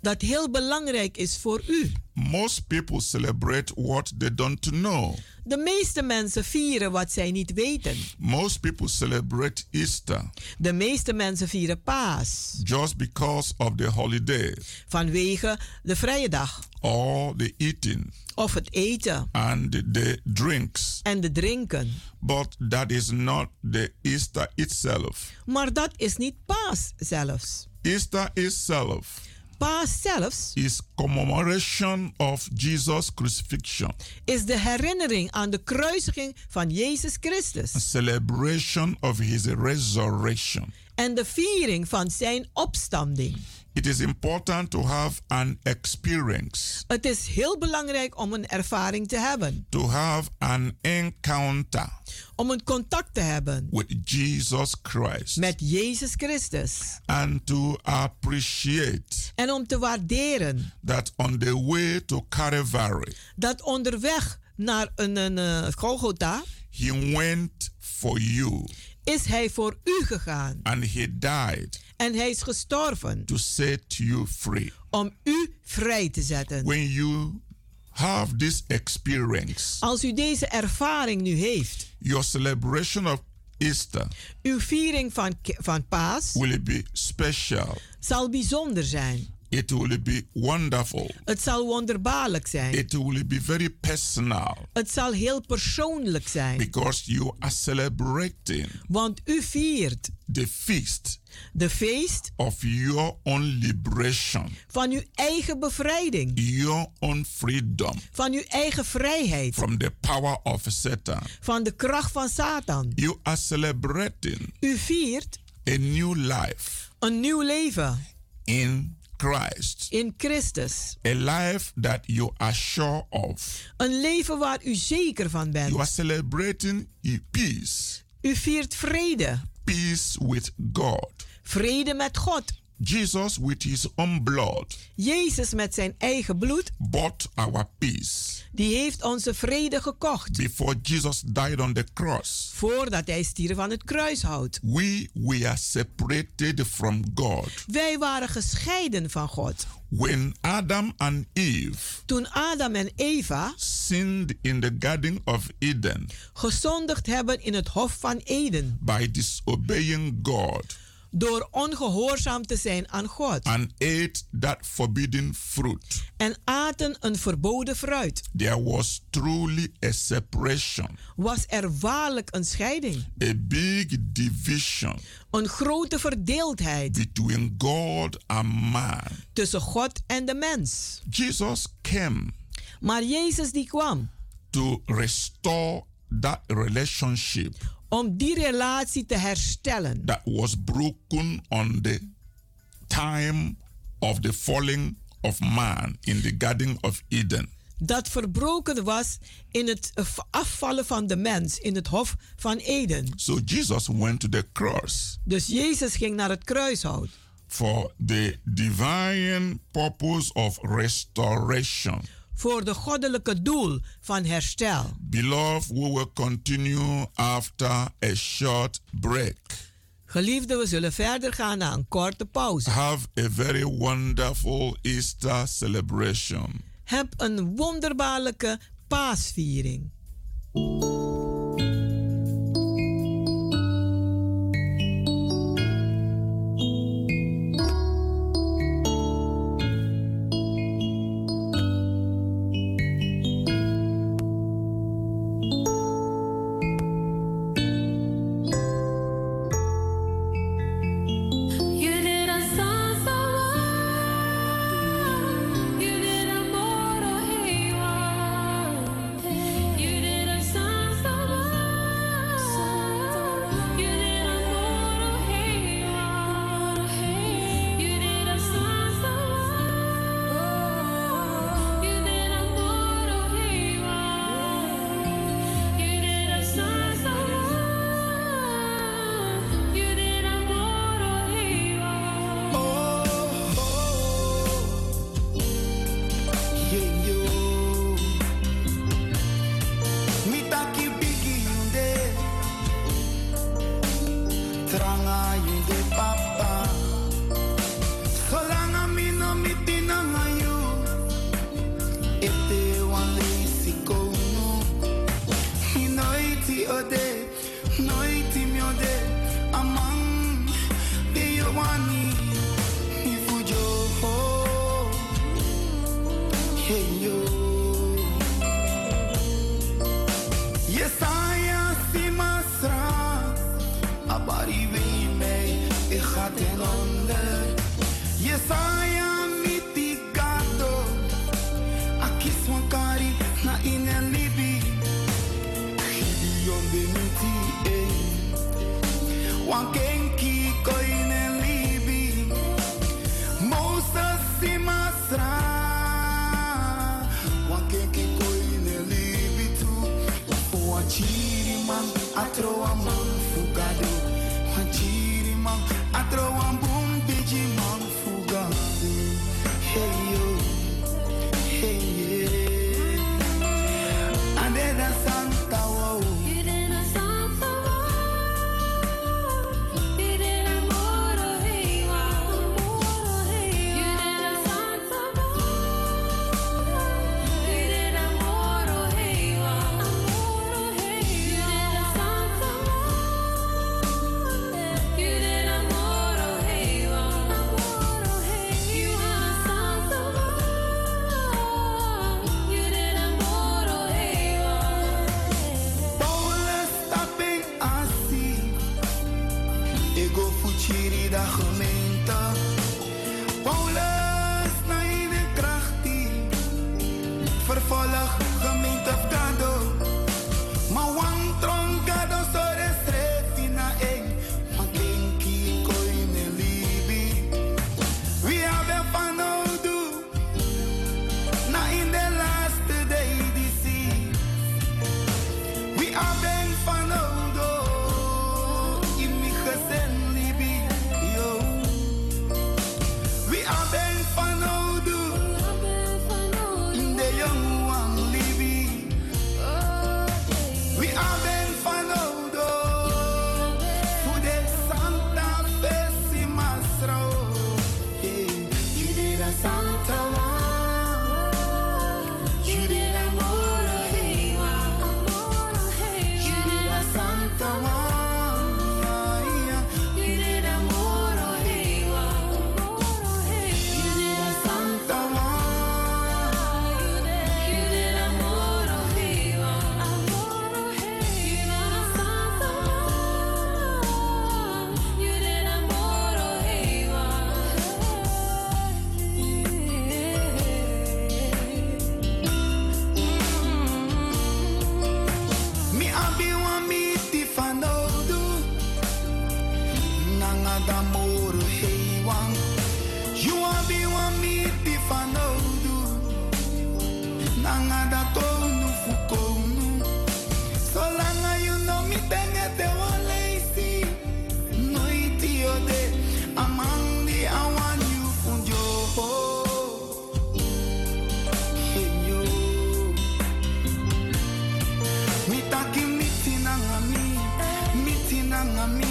[SPEAKER 9] dat heel belangrijk is voor u.
[SPEAKER 10] Most people celebrate what they don't know.
[SPEAKER 9] De meeste mensen vieren wat zij niet weten.
[SPEAKER 10] Most people celebrate Easter
[SPEAKER 9] De meeste mensen vieren Paas
[SPEAKER 10] just because of the holiday
[SPEAKER 9] vanwege de vrije dag
[SPEAKER 10] or the eating
[SPEAKER 9] of het eten
[SPEAKER 10] and the drinks.
[SPEAKER 9] en de drinken.
[SPEAKER 10] But that is not the Easter itself.
[SPEAKER 9] Maar dat is niet Paas zelfs.
[SPEAKER 10] Easter itself
[SPEAKER 9] Paas zelfs
[SPEAKER 10] is commemoration of Jesus' crucifixion,
[SPEAKER 9] is de herinnering aan de kruisiging van Jezus Christus
[SPEAKER 10] celebration of his resurrection.
[SPEAKER 9] en de viering van zijn opstanding.
[SPEAKER 10] It is important to have an experience,
[SPEAKER 9] Het is heel belangrijk om een ervaring te hebben,
[SPEAKER 10] to have an encounter
[SPEAKER 9] om een contact te hebben
[SPEAKER 10] with Jesus Christ,
[SPEAKER 9] met Jezus Christus
[SPEAKER 10] and to appreciate
[SPEAKER 9] en om te waarderen
[SPEAKER 10] that on the way to Calvary,
[SPEAKER 9] dat onderweg naar een, een eh, Golgotha
[SPEAKER 10] he went for you
[SPEAKER 9] is hij voor u gegaan
[SPEAKER 10] and he died
[SPEAKER 9] en hij is gestorven
[SPEAKER 10] to set you free.
[SPEAKER 9] om u vrij te zetten.
[SPEAKER 10] When you have this experience,
[SPEAKER 9] Als u deze ervaring nu heeft,
[SPEAKER 10] your celebration of Easter
[SPEAKER 9] uw viering van, Ke- van Paas
[SPEAKER 10] will be special.
[SPEAKER 9] zal bijzonder zijn.
[SPEAKER 10] It will be wonderful.
[SPEAKER 9] Het zal wonderbaarlijk zijn.
[SPEAKER 10] It will be very personal
[SPEAKER 9] Het zal heel persoonlijk zijn,
[SPEAKER 10] because you are celebrating
[SPEAKER 9] want u viert
[SPEAKER 10] the feast
[SPEAKER 9] de feest
[SPEAKER 10] of your own liberation,
[SPEAKER 9] van uw eigen bevrijding,
[SPEAKER 10] your own freedom
[SPEAKER 9] van uw eigen vrijheid,
[SPEAKER 10] from the power of Satan.
[SPEAKER 9] van de kracht van Satan.
[SPEAKER 10] You are celebrating
[SPEAKER 9] U viert
[SPEAKER 10] a new life
[SPEAKER 9] een nieuw leven
[SPEAKER 10] in Christ,
[SPEAKER 9] in Christus.
[SPEAKER 10] a life that you are sure of.
[SPEAKER 9] Een leven waar u zeker van
[SPEAKER 10] You are
[SPEAKER 9] bent.
[SPEAKER 10] celebrating i- peace,
[SPEAKER 9] U viert vrede.
[SPEAKER 10] peace with God.
[SPEAKER 9] Vrede met God.
[SPEAKER 10] Jesus, with his own blood,
[SPEAKER 9] Jezus met zijn eigen bloed,
[SPEAKER 10] bought our peace.
[SPEAKER 9] die heeft onze vrede gekocht.
[SPEAKER 10] Before Jesus died on the cross,
[SPEAKER 9] Voordat hij stierf aan het kruishout.
[SPEAKER 10] we were separated from God.
[SPEAKER 9] Wij waren gescheiden van God.
[SPEAKER 10] When Adam and Eve
[SPEAKER 9] Toen Adam en Eva
[SPEAKER 10] sinned in the Garden of Eden
[SPEAKER 9] gezondigd hebben in het Hof van Eden.
[SPEAKER 10] by disobeying God
[SPEAKER 9] Door ongehoorzaam te zijn aan God.
[SPEAKER 10] and ate that forbidden fruit,
[SPEAKER 9] En aten een verboden fruit.
[SPEAKER 10] there was truly a separation,
[SPEAKER 9] Was er waarlijk een scheiding.
[SPEAKER 10] a big division
[SPEAKER 9] Een grote verdeeldheid
[SPEAKER 10] between God and man.
[SPEAKER 9] tussen God en de mens.
[SPEAKER 10] Jesus came
[SPEAKER 9] Maar Jezus die kwam
[SPEAKER 10] to restore that relationship
[SPEAKER 9] om die relatie te herstellen.
[SPEAKER 10] that was broken on the time of the falling of man in the Garden of Eden.
[SPEAKER 9] Dat verbroken was in het afvallen van de mens in het Hof van Eden.
[SPEAKER 10] So Jesus went to the cross
[SPEAKER 9] Dus Jezus ging naar het kruishout.
[SPEAKER 10] for the divine purpose of restoration.
[SPEAKER 9] Voor de goddelijke doel van herstel.
[SPEAKER 10] Beloved, we will continue after a short break.
[SPEAKER 9] Geliefden, we zullen verder gaan na een korte pauze.
[SPEAKER 10] Have a very wonderful Easter celebration.
[SPEAKER 9] Heb een wonderbaarlijke paasviering.
[SPEAKER 11] You did a song so well. You did a mortal hero. You did a song so well. You did a mortal hero. You did a song so well. You did a mortal hero. You did a song so well. You did a mortal hero.
[SPEAKER 12] Tranga yung de papa Solanga mi no mi tina de e amang de yowani ni fujo hey yo E yesaya simasra abari we me ik ga ten onder E yesaya mitigado aqui sua cari na inelibi Gideon de miti eh Wankenki koinen libi Moses simasra Wankenki koinen libi tu Wachiri man atro amon fugado Wachiri man atro ambum biji man fugado Hey yo, hey yeah And then a santa wow Paulus tapping assi. Ik go fuchiri da gemeente. Paulus na in de krachti. Vervolg gemeente of kado. Ma wan tron kado sore strefi na eng. Ma kenki koine libi. We have a fanodu. Na in de last day di see. We are ben van Odo. In mi gezen libi, yo. We are ben van Odo. In de young one libi. We are ben van Odo. Voor de Santa Fe Masro. You did a Santa one. You did a Moro hey, wow. You did a Santa Maria. You did a Moro Heiwa. You did a Santa Maria. You did a Moro Heiwa. You did a Santa Maria. You did a Moro Heiwa. Mi abi wan mi ti fanodu Nanga da moro hey wan You abi wan mi ti fanodu Nanga da tonu fukonu Solanga you know mi tenga te wan lazy Noiti ode amandi I want you funjo Hey yo mitaki mitinanga mi mitinanga mi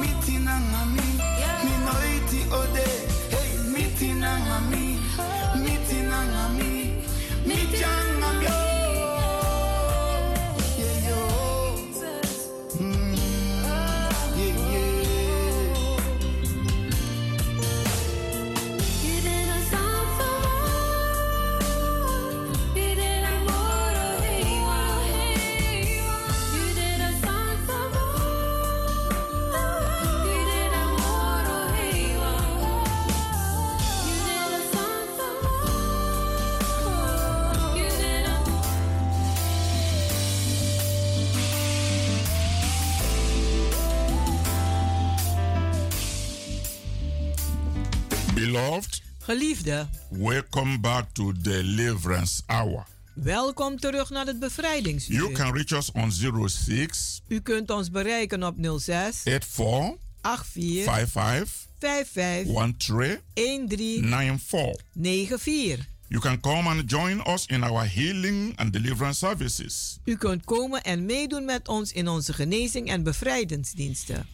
[SPEAKER 12] mitinanga mi minoiti ode hey mitinanga mi mitinanga mi mitjanga mi yeah yo Mm, yeah yeah
[SPEAKER 10] Beloved,
[SPEAKER 9] Geliefde,
[SPEAKER 10] welcome back to Deliverance Hour.
[SPEAKER 9] welkom terug naar het bevrijdingsuur.
[SPEAKER 10] You can reach us on 06
[SPEAKER 9] U kunt ons bereiken op 06
[SPEAKER 10] 84
[SPEAKER 9] 84
[SPEAKER 10] 55
[SPEAKER 9] 55
[SPEAKER 10] 13
[SPEAKER 9] 13
[SPEAKER 10] 94.
[SPEAKER 9] 94.
[SPEAKER 10] You can come and join us in our healing and deliverance services.
[SPEAKER 9] U kunt komen en meedoen met ons in onze genezing en bevrijdingsdiensten.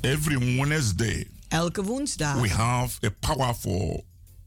[SPEAKER 10] Every Wednesday,
[SPEAKER 9] Elke woensdag
[SPEAKER 10] we have a powerful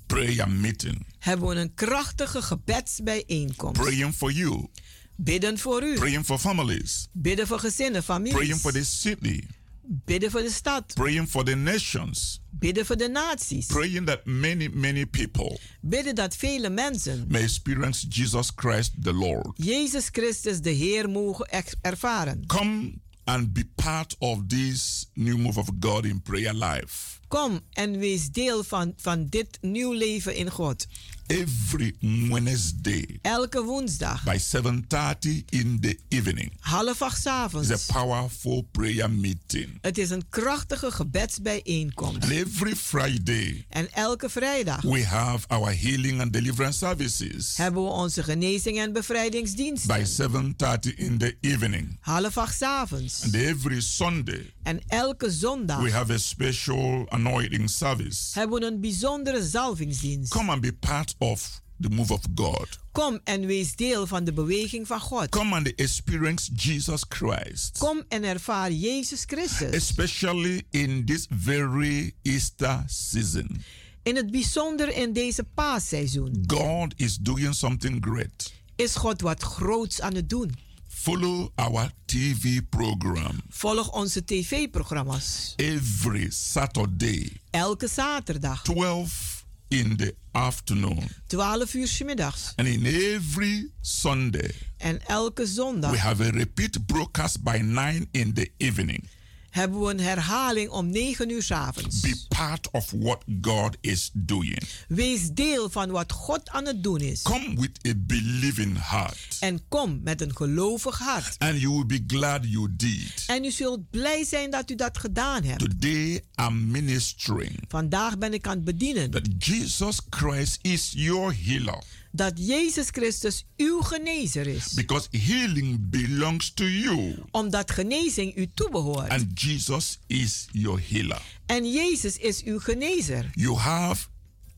[SPEAKER 10] prayer meeting
[SPEAKER 9] hebben we een krachtige gebedsbijeenkomst.
[SPEAKER 10] praying for you,
[SPEAKER 9] Bidden voor u.
[SPEAKER 10] Praying for families.
[SPEAKER 9] Bidden voor gezinnen, families.
[SPEAKER 10] Praying for the city.
[SPEAKER 9] Bidden voor de stad.
[SPEAKER 10] Praying for the nations.
[SPEAKER 9] Bidden voor de naties.
[SPEAKER 10] Praying that many, many people
[SPEAKER 9] Bidden dat vele mensen
[SPEAKER 10] may experience Jesus Christ the Lord.
[SPEAKER 9] Jezus Christus de Heer mogen ex- ervaren.
[SPEAKER 10] Come and be part of this new move of God in prayer life.
[SPEAKER 9] Kom en wees deel van, van dit nieuw leven in God.
[SPEAKER 10] Every Wednesday
[SPEAKER 9] Elke woensdag,
[SPEAKER 10] by 7:30 in the evening
[SPEAKER 9] half acht
[SPEAKER 10] is
[SPEAKER 9] 's avonds.
[SPEAKER 10] a powerful prayer meeting.
[SPEAKER 9] Het is een krachtige gebedsbijeenkomst.
[SPEAKER 10] And every Friday
[SPEAKER 9] En elke vrijdag
[SPEAKER 10] we have our healing and deliverance services
[SPEAKER 9] hebben we onze genezing en bevrijdingsdienst.
[SPEAKER 10] by 7:30 in the evening.
[SPEAKER 9] Half acht 's avonds.
[SPEAKER 10] And every Sunday
[SPEAKER 9] En elke zondag
[SPEAKER 10] we have a special anointing service.
[SPEAKER 9] hebben we een bijzondere zalvingsdienst.
[SPEAKER 10] Come and be part of the move of God.
[SPEAKER 9] Kom en wees deel van de beweging van God.
[SPEAKER 10] Come and experience Jesus Christ.
[SPEAKER 9] Kom en ervaar Jezus Christus.
[SPEAKER 10] Especially in this very Easter season.
[SPEAKER 9] In het bijzonder in deze paasseizoen
[SPEAKER 10] God is doing something great.
[SPEAKER 9] is God wat groots aan het doen.
[SPEAKER 10] Follow our TV program
[SPEAKER 9] Volg onze tv-programma's.
[SPEAKER 10] every Saturday,
[SPEAKER 9] Elke zaterdag,
[SPEAKER 10] 12 in the afternoon.
[SPEAKER 9] 12 uur 's middags.
[SPEAKER 10] And in every Sunday,
[SPEAKER 9] En elke
[SPEAKER 10] we
[SPEAKER 9] zondag
[SPEAKER 10] have a repeat broadcast by 9 in the evening.
[SPEAKER 9] hebben we een herhaling om 9 uur 's avonds.
[SPEAKER 10] Be part of what God is doing.
[SPEAKER 9] Wees deel van wat God aan het doen is.
[SPEAKER 10] Come with a believing heart,
[SPEAKER 9] En kom met een gelovig hart.
[SPEAKER 10] and you will be glad you did.
[SPEAKER 9] En u zult blij zijn dat u dat gedaan hebt.
[SPEAKER 10] Today, I'm ministering
[SPEAKER 9] Vandaag ben ik aan het bedienen
[SPEAKER 10] that Jesus Christ is your healer
[SPEAKER 9] dat Jezus Christus uw genezer is.
[SPEAKER 10] because healing belongs to you,
[SPEAKER 9] Omdat genezing u toebehoort.
[SPEAKER 10] and Jesus is your healer.
[SPEAKER 9] En Jezus is uw genezer.
[SPEAKER 10] You have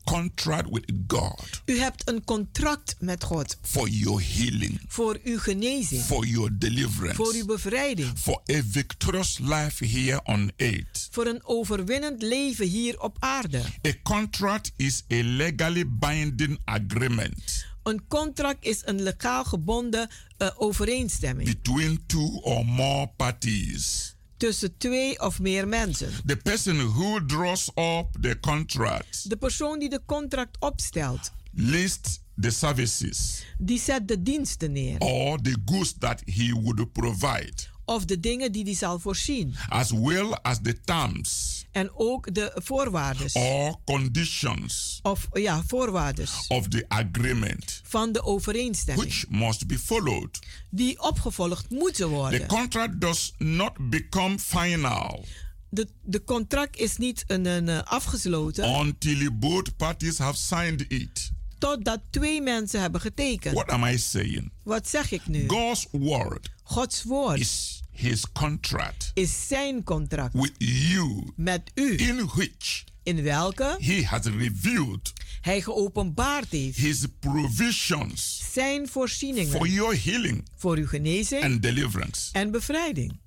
[SPEAKER 10] contract with God
[SPEAKER 9] U hebt een contract met God
[SPEAKER 10] for your healing,
[SPEAKER 9] voor uw genezing,
[SPEAKER 10] for your deliverance,
[SPEAKER 9] voor uw bevrijding,
[SPEAKER 10] for a victorious life here on earth.
[SPEAKER 9] voor een overwinnend leven hier op aarde.
[SPEAKER 10] A contract is a legally binding agreement
[SPEAKER 9] Een contract is een legaal gebonden eh, overeenstemming
[SPEAKER 10] between two or more parties.
[SPEAKER 9] tussen twee of meer mensen.
[SPEAKER 10] The person who draws up the contract
[SPEAKER 9] De persoon die de contract opstelt,
[SPEAKER 10] lists the services
[SPEAKER 9] die zet de diensten neer
[SPEAKER 10] or the goods that he would provide,
[SPEAKER 9] of de dingen die die zal voorzien.
[SPEAKER 10] as well as the terms
[SPEAKER 9] En ook de voorwaarden
[SPEAKER 10] or conditions
[SPEAKER 9] of ja, voorwaarden
[SPEAKER 10] of the agreement,
[SPEAKER 9] van de overeenstemming
[SPEAKER 10] which must be followed.
[SPEAKER 9] die opgevolgd moeten
[SPEAKER 10] The
[SPEAKER 9] worden.
[SPEAKER 10] contract does not become final
[SPEAKER 9] De, de contract is niet een, een, eh,
[SPEAKER 1] Oh.
[SPEAKER 9] afgesloten
[SPEAKER 10] until both parties have signed it.
[SPEAKER 9] totdat twee mensen hebben getekend.
[SPEAKER 10] What am I saying?
[SPEAKER 9] Wat zeg ik nu?
[SPEAKER 10] God's word
[SPEAKER 9] Gods woord
[SPEAKER 10] is his contract
[SPEAKER 9] is zijn contract
[SPEAKER 10] with you
[SPEAKER 9] met u,
[SPEAKER 10] in which
[SPEAKER 9] in welke
[SPEAKER 10] he has revealed
[SPEAKER 9] hij geopenbaard heeft
[SPEAKER 10] his provisions
[SPEAKER 9] zijn
[SPEAKER 10] for
[SPEAKER 9] voorzieningen
[SPEAKER 10] your healing
[SPEAKER 9] voor uw genezing
[SPEAKER 10] and deliverance,
[SPEAKER 9] en bevrijding.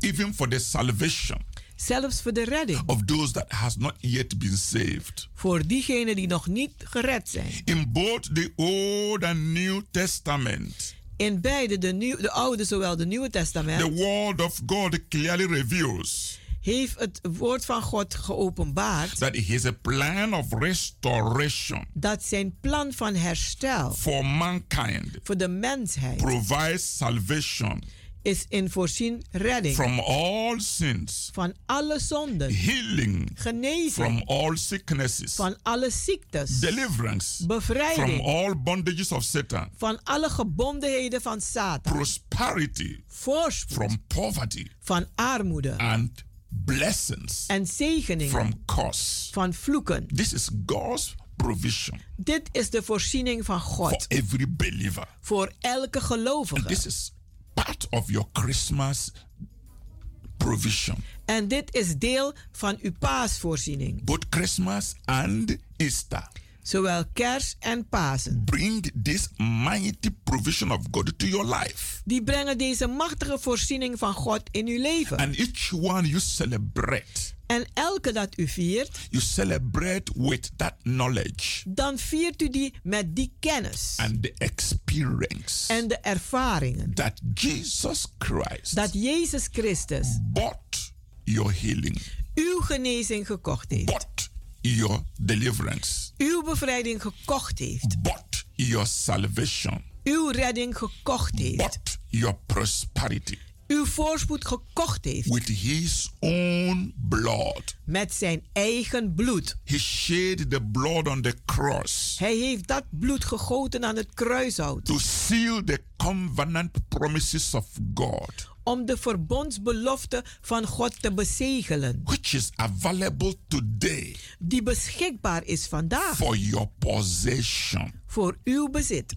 [SPEAKER 10] even for the salvation
[SPEAKER 9] Zelfs voor de redding,
[SPEAKER 10] of those that has not yet been saved.
[SPEAKER 9] voor diegenen die nog niet gered zijn.
[SPEAKER 10] In both the Old and New Testament,
[SPEAKER 9] In beide, de, nieuw, de Oude zowel de Nieuwe
[SPEAKER 10] the
[SPEAKER 9] Testament,
[SPEAKER 10] word of God clearly reveals
[SPEAKER 9] heeft het woord van God geopenbaard
[SPEAKER 10] that his plan of restoration
[SPEAKER 9] dat zijn plan van herstel
[SPEAKER 10] for mankind
[SPEAKER 9] voor de mensheid
[SPEAKER 10] provides salvation
[SPEAKER 9] is in voorzien redding
[SPEAKER 10] from all sins,
[SPEAKER 9] van alle zonden,
[SPEAKER 10] healing from
[SPEAKER 9] genezing
[SPEAKER 10] all sicknesses,
[SPEAKER 9] van alle ziektes,
[SPEAKER 10] deliverance from
[SPEAKER 9] bevrijding
[SPEAKER 10] all bondages of Satan,
[SPEAKER 9] van alle gebondenheden van Satan,
[SPEAKER 10] prosperity
[SPEAKER 9] voorspoed
[SPEAKER 10] from poverty,
[SPEAKER 9] van armoede
[SPEAKER 10] and blessings
[SPEAKER 9] en zegeningen
[SPEAKER 10] from curse.
[SPEAKER 9] van vloeken.
[SPEAKER 10] This is God's provision
[SPEAKER 9] Dit is de voorziening van
[SPEAKER 10] for
[SPEAKER 9] God
[SPEAKER 10] every believer.
[SPEAKER 9] voor elke
[SPEAKER 10] And
[SPEAKER 9] gelovige.
[SPEAKER 10] this is part of your Christmas provision.
[SPEAKER 9] En dit is deel van uw paasvoorziening,
[SPEAKER 10] Both Christmas and Easter
[SPEAKER 9] zowel kerst en Pasen.
[SPEAKER 10] Bring this mighty provision of God to your life.
[SPEAKER 9] Die brengen deze machtige voorziening van God in uw leven.
[SPEAKER 10] And each one you celebrate.
[SPEAKER 9] En elke dat u viert,
[SPEAKER 10] you celebrate with that knowledge
[SPEAKER 9] dan viert u die met die kennis
[SPEAKER 10] and the experience
[SPEAKER 9] en de ervaringen
[SPEAKER 10] that Jesus Christ
[SPEAKER 9] dat Jezus Christus
[SPEAKER 10] bought your healing,
[SPEAKER 9] uw genezing gekocht heeft,
[SPEAKER 10] bought your deliverance,
[SPEAKER 9] uw bevrijding gekocht heeft,
[SPEAKER 10] bought your salvation,
[SPEAKER 9] uw redding gekocht heeft,
[SPEAKER 10] bought your prosperity
[SPEAKER 9] uw voorspoed gekocht heeft
[SPEAKER 10] with his own blood.
[SPEAKER 9] met zijn eigen bloed.
[SPEAKER 10] He shed the blood on the cross
[SPEAKER 9] Hij heeft dat bloed gegoten aan het kruishout
[SPEAKER 10] to seal the covenant promises of God,
[SPEAKER 9] om de verbondsbelofte van God te bezegelen,
[SPEAKER 10] which is available today
[SPEAKER 9] die beschikbaar is vandaag
[SPEAKER 10] for your possession.
[SPEAKER 9] voor uw bezit.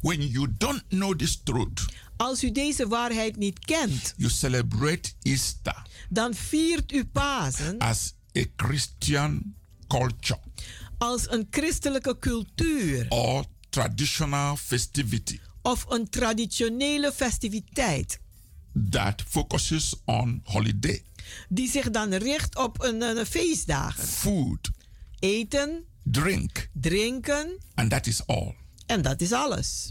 [SPEAKER 10] When you don't know this truth,
[SPEAKER 9] Als u deze waarheid niet kent,
[SPEAKER 10] you celebrate Easter
[SPEAKER 9] dan viert u Pasen
[SPEAKER 10] as a Christian culture
[SPEAKER 9] als een christelijke cultuur
[SPEAKER 10] or traditional festivity
[SPEAKER 9] of een traditionele festiviteit
[SPEAKER 10] that focuses on holiday,
[SPEAKER 9] die zich dan richt op een, een feestdagen.
[SPEAKER 10] food,
[SPEAKER 9] Eten,
[SPEAKER 10] drink,
[SPEAKER 9] drinken
[SPEAKER 10] and that is all.
[SPEAKER 9] en dat is alles.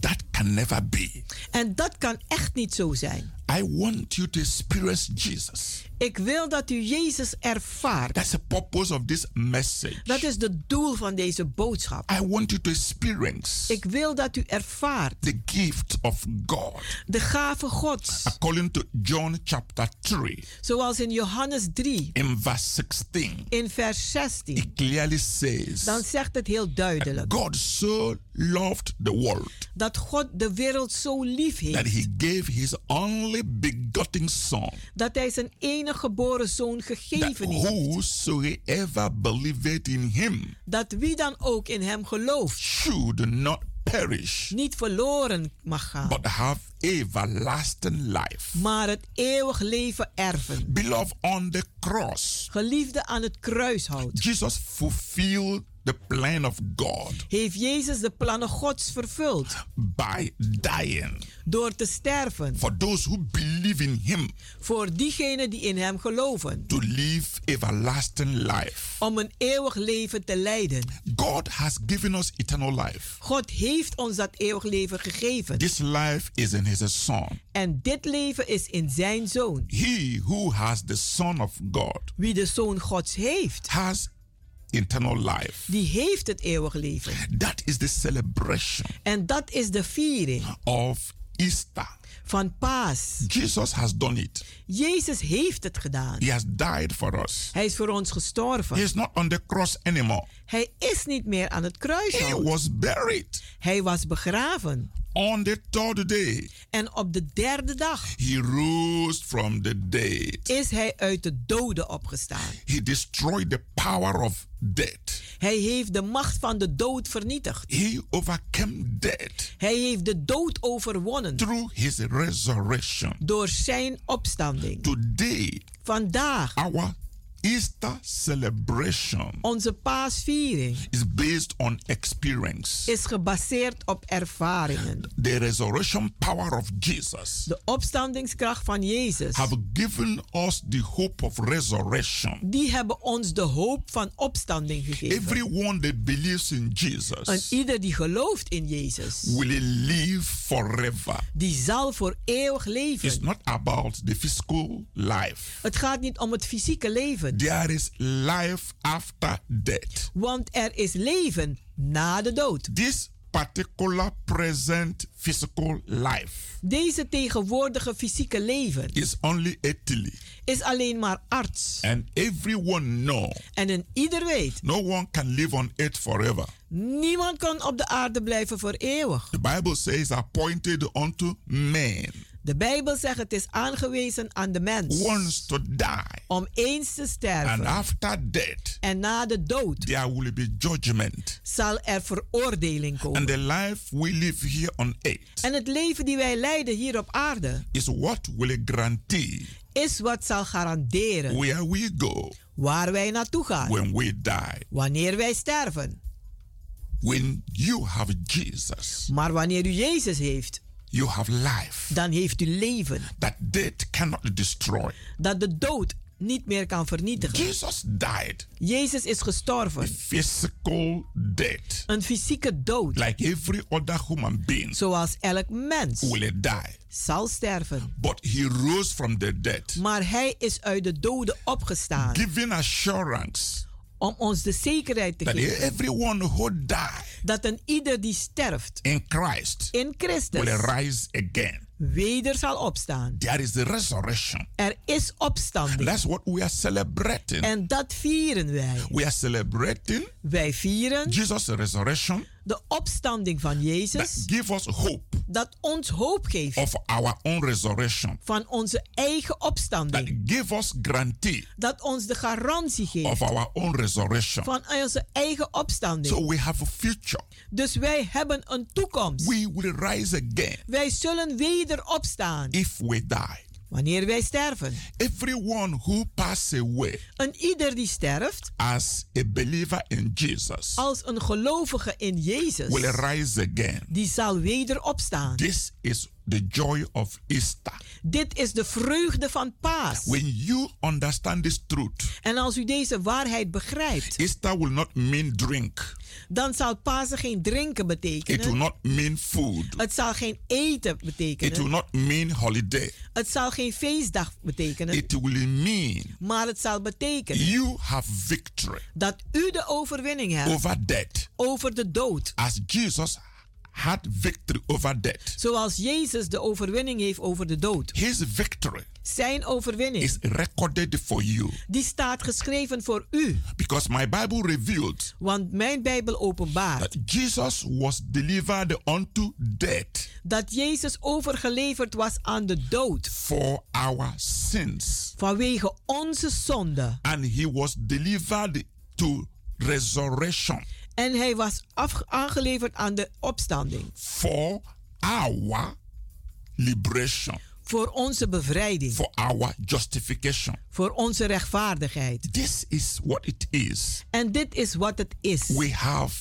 [SPEAKER 10] That can never be.
[SPEAKER 9] En dat kan echt niet zo zijn.
[SPEAKER 10] I want you to experience Jesus.
[SPEAKER 9] Ik wil dat u Jezus ervaart.
[SPEAKER 10] That's the purpose of this message.
[SPEAKER 9] Dat is het doel van deze boodschap.
[SPEAKER 10] I want you to experience
[SPEAKER 9] Ik wil dat u ervaart
[SPEAKER 10] the gift of God.
[SPEAKER 9] de gave Gods.
[SPEAKER 10] According to John chapter 3,
[SPEAKER 9] Zoals in Johannes 3
[SPEAKER 10] in verse 16,
[SPEAKER 9] in vers 16.
[SPEAKER 10] it clearly says
[SPEAKER 9] Dan zegt het heel duidelijk
[SPEAKER 10] God so loved the world
[SPEAKER 9] dat God de wereld zo lief
[SPEAKER 10] that
[SPEAKER 9] heeft
[SPEAKER 10] he gave his only begotten Son,
[SPEAKER 9] dat hij zijn enige geboren zoon
[SPEAKER 10] that
[SPEAKER 9] gegeven heeft.
[SPEAKER 10] whosoever believeth in him
[SPEAKER 9] Dat wie dan ook in hem gelooft
[SPEAKER 10] should not perish,
[SPEAKER 9] niet verloren mag gaan,
[SPEAKER 10] but have everlasting life.
[SPEAKER 9] maar het eeuwig leven erven.
[SPEAKER 10] Beloved, on the cross,
[SPEAKER 9] Geliefde aan het kruishout
[SPEAKER 10] Jesus fulfilled the plan of God
[SPEAKER 9] heeft Jezus de plannen Gods vervuld
[SPEAKER 10] by dying
[SPEAKER 9] door te sterven
[SPEAKER 10] for those who believe in Him
[SPEAKER 9] voor diegenen die in hem geloven,
[SPEAKER 10] to live everlasting life.
[SPEAKER 9] om een eeuwig leven te leiden.
[SPEAKER 10] God has given us eternal life.
[SPEAKER 9] God heeft ons dat eeuwig leven gegeven.
[SPEAKER 10] This life is in His Son.
[SPEAKER 9] En dit leven is in zijn zoon.
[SPEAKER 10] He who has the Son of God
[SPEAKER 9] Wie de zoon Gods heeft,
[SPEAKER 10] has eternal life.
[SPEAKER 9] die heeft het eeuwig leven.
[SPEAKER 10] That is the celebration
[SPEAKER 9] En dat is de viering
[SPEAKER 10] of Easter.
[SPEAKER 9] van Paas.
[SPEAKER 10] Jesus has done it.
[SPEAKER 9] Jezus heeft het gedaan.
[SPEAKER 10] He has died for us.
[SPEAKER 9] Hij is voor ons gestorven.
[SPEAKER 10] He is not on the cross anymore.
[SPEAKER 9] Hij is niet meer aan het kruis.
[SPEAKER 10] He was buried.
[SPEAKER 9] Hij was begraven.
[SPEAKER 10] On the third day,
[SPEAKER 9] En op de derde dag
[SPEAKER 10] he rose from the dead.
[SPEAKER 9] is hij uit de doden opgestaan.
[SPEAKER 10] He destroyed the power of death.
[SPEAKER 9] Hij heeft de macht van de dood vernietigd.
[SPEAKER 10] He overcame death
[SPEAKER 9] Hij heeft de dood overwonnen
[SPEAKER 10] through his resurrection.
[SPEAKER 9] door zijn opstanding.
[SPEAKER 10] Today,
[SPEAKER 9] Vandaag,
[SPEAKER 10] our Easter celebration
[SPEAKER 9] onze paasviering
[SPEAKER 10] is based on experience.
[SPEAKER 9] is gebaseerd op ervaringen.
[SPEAKER 10] The resurrection power of Jesus
[SPEAKER 9] De opstandingskracht van Jezus,
[SPEAKER 10] have given us the hope of resurrection.
[SPEAKER 9] die hebben ons de hoop van opstanding gegeven.
[SPEAKER 10] Everyone that believes in
[SPEAKER 9] En
[SPEAKER 10] Jesus
[SPEAKER 9] ieder die gelooft in Jezus,
[SPEAKER 10] will live forever.
[SPEAKER 9] die zal voor eeuwig
[SPEAKER 10] It's
[SPEAKER 9] leven.
[SPEAKER 10] not about the physical life.
[SPEAKER 9] Het gaat niet om het fysieke leven,
[SPEAKER 10] There is life after death.
[SPEAKER 9] want er is leven na de dood.
[SPEAKER 10] This particular present physical life
[SPEAKER 9] Deze tegenwoordige fysieke leven
[SPEAKER 10] is only earthly,
[SPEAKER 9] is alleen maar arts.
[SPEAKER 10] and everyone know
[SPEAKER 9] En een ieder weet,
[SPEAKER 10] no one can live on earth forever.
[SPEAKER 9] niemand kan op de aarde blijven voor eeuwig.
[SPEAKER 10] The Bible says, "Appointed unto men
[SPEAKER 9] De Bijbel zegt het is aangewezen aan de mens.
[SPEAKER 10] Wants to die.
[SPEAKER 9] Om eens te sterven.
[SPEAKER 10] And after death.
[SPEAKER 9] En na de dood.
[SPEAKER 10] There will be judgment.
[SPEAKER 9] Zal er veroordeling komen.
[SPEAKER 10] And the life we live here on earth.
[SPEAKER 9] En het leven die wij leiden hier op aarde.
[SPEAKER 10] Is what will guarantee.
[SPEAKER 9] Is wat zal garanderen.
[SPEAKER 10] Where we go.
[SPEAKER 9] Waar wij naartoe gaan.
[SPEAKER 10] When we die.
[SPEAKER 9] Wanneer wij sterven.
[SPEAKER 10] When you have Jesus,
[SPEAKER 9] maar wanneer u Jezus heeft,
[SPEAKER 10] you have life.
[SPEAKER 9] dan heeft u leven.
[SPEAKER 10] That death cannot destroy.
[SPEAKER 9] Dat de dood niet meer kan vernietigen.
[SPEAKER 10] Jesus died.
[SPEAKER 9] Jezus is gestorven. A
[SPEAKER 10] physical death.
[SPEAKER 9] Een fysieke dood.
[SPEAKER 10] Like every other human being.
[SPEAKER 9] Zoals elk mens.
[SPEAKER 10] Will die.
[SPEAKER 9] Zal sterven.
[SPEAKER 10] But he rose from the dead.
[SPEAKER 9] Maar hij is uit de doden opgestaan.
[SPEAKER 10] Giving assurance
[SPEAKER 9] om ons de zekerheid te
[SPEAKER 10] that
[SPEAKER 9] geven.
[SPEAKER 10] Everyone who die,
[SPEAKER 9] dat een ieder die sterft
[SPEAKER 10] in, Christ,
[SPEAKER 9] in Christus
[SPEAKER 10] will rise again.
[SPEAKER 9] weder zal opstaan.
[SPEAKER 10] There is the resurrection.
[SPEAKER 9] Er is opstanding.
[SPEAKER 10] That's what we are celebrating.
[SPEAKER 9] En dat vieren wij.
[SPEAKER 10] We are celebrating
[SPEAKER 9] wij vieren
[SPEAKER 10] Jesus resurrection.
[SPEAKER 9] De opstanding van Jezus.
[SPEAKER 10] That give us hope.
[SPEAKER 9] Dat ons hoop geeft.
[SPEAKER 10] Of our own resurrection.
[SPEAKER 9] Van onze eigen opstanding.
[SPEAKER 10] That give us guarantee.
[SPEAKER 9] Dat ons de garantie geeft.
[SPEAKER 10] Of our own resurrection.
[SPEAKER 9] Van onze eigen opstanding.
[SPEAKER 10] So we have a future.
[SPEAKER 9] Dus wij hebben een toekomst.
[SPEAKER 10] We will rise again.
[SPEAKER 9] Wij zullen weder opstaan.
[SPEAKER 10] If we die.
[SPEAKER 9] Wanneer wij sterven.
[SPEAKER 10] Everyone who passes away.
[SPEAKER 9] Een ieder die sterft.
[SPEAKER 10] As a believer in Jesus.
[SPEAKER 9] Als een gelovige in Jezus.
[SPEAKER 10] Will rise again.
[SPEAKER 9] Die zal weder opstaan.
[SPEAKER 10] This is the joy of Easter.
[SPEAKER 9] Dit is de vreugde van Paas.
[SPEAKER 10] When you understand this truth.
[SPEAKER 9] En als u deze waarheid begrijpt.
[SPEAKER 10] Easter will not mean drink.
[SPEAKER 9] Dan zal Pasen geen drinken betekenen.
[SPEAKER 10] It will not mean food.
[SPEAKER 9] Het zal geen eten betekenen.
[SPEAKER 10] It will not mean holiday.
[SPEAKER 9] Het zal geen feestdag betekenen.
[SPEAKER 10] It will mean.
[SPEAKER 9] Maar het zal betekenen.
[SPEAKER 10] You have victory.
[SPEAKER 9] Dat u de overwinning hebt.
[SPEAKER 10] Over death.
[SPEAKER 9] Over de dood.
[SPEAKER 10] As Jesus had victory over death.
[SPEAKER 9] Zoals Jezus de overwinning heeft over de dood.
[SPEAKER 10] His victory.
[SPEAKER 9] Zijn overwinning
[SPEAKER 10] is recorded for you.
[SPEAKER 9] Die staat geschreven voor u.
[SPEAKER 10] Because my Bible revealed.
[SPEAKER 9] Want mijn Bijbel openbaart.
[SPEAKER 10] That Jesus was delivered unto death.
[SPEAKER 9] Dat Jezus overgeleverd was aan de dood.
[SPEAKER 10] For our sins.
[SPEAKER 9] Vanwege onze zonden.
[SPEAKER 10] And he was delivered to resurrection.
[SPEAKER 9] En hij was aangeleverd aan de opstanding.
[SPEAKER 10] For our liberation.
[SPEAKER 9] Voor onze bevrijding.
[SPEAKER 10] For our justification.
[SPEAKER 9] Voor onze rechtvaardigheid.
[SPEAKER 10] This is what it is.
[SPEAKER 9] En dit is wat het is.
[SPEAKER 10] We have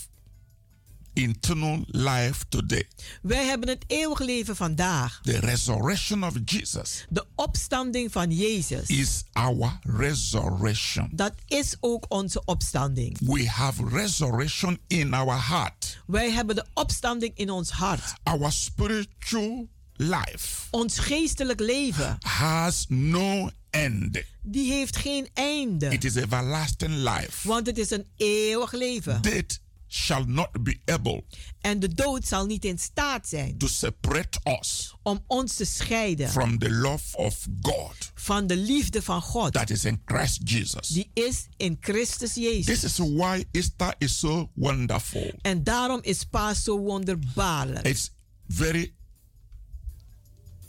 [SPEAKER 10] internal life today.
[SPEAKER 9] Wij hebben het eeuwige leven vandaag.
[SPEAKER 10] The resurrection of Jesus.
[SPEAKER 9] De opstanding van Jezus.
[SPEAKER 10] Is our resurrection.
[SPEAKER 9] Dat is ook onze opstanding.
[SPEAKER 10] We have resurrection in our heart.
[SPEAKER 9] Wij hebben de opstanding in ons hart.
[SPEAKER 10] Our spiritual life.
[SPEAKER 9] Ons geestelijk leven.
[SPEAKER 10] Has no end.
[SPEAKER 9] Die heeft geen einde.
[SPEAKER 10] It is everlasting life.
[SPEAKER 9] Want het is een eeuwig leven.
[SPEAKER 10] Dit shall not be able
[SPEAKER 9] en de dood zal niet in staat zijn
[SPEAKER 10] to separate us
[SPEAKER 9] om ons te scheiden
[SPEAKER 10] from the love of God
[SPEAKER 9] van de liefde van God
[SPEAKER 10] that is in Christ Jesus
[SPEAKER 9] die is in Christus Jezus
[SPEAKER 10] this is why Easter is so wonderful
[SPEAKER 9] en daarom is Paas zo wonderbaarlijk
[SPEAKER 10] it's very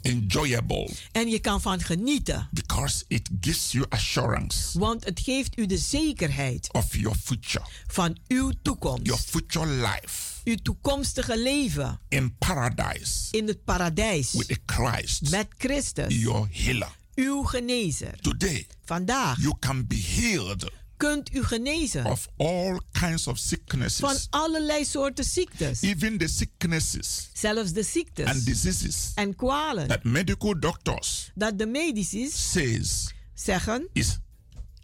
[SPEAKER 10] enjoyable.
[SPEAKER 9] En je kan van genieten.
[SPEAKER 10] Because it gives you assurance.
[SPEAKER 9] Want het geeft u de zekerheid
[SPEAKER 10] of your future.
[SPEAKER 9] Van uw toekomst.
[SPEAKER 10] Your future life.
[SPEAKER 9] Uw toekomstige leven.
[SPEAKER 10] In paradise.
[SPEAKER 9] In het paradijs.
[SPEAKER 10] With Christ.
[SPEAKER 9] Met Christus.
[SPEAKER 10] Your healer.
[SPEAKER 9] Uw genezer.
[SPEAKER 10] Today.
[SPEAKER 9] Vandaag.
[SPEAKER 10] You can be healed
[SPEAKER 9] kunt u genezen.
[SPEAKER 10] Of all kinds of sicknesses.
[SPEAKER 9] Van allerlei soorten ziektes.
[SPEAKER 10] Even the sicknesses.
[SPEAKER 9] Zelfs de ziektes.
[SPEAKER 10] And diseases.
[SPEAKER 9] En kwalen.
[SPEAKER 10] That medical doctors.
[SPEAKER 9] Dat de medici.
[SPEAKER 10] Says.
[SPEAKER 9] Zeggen.
[SPEAKER 10] Is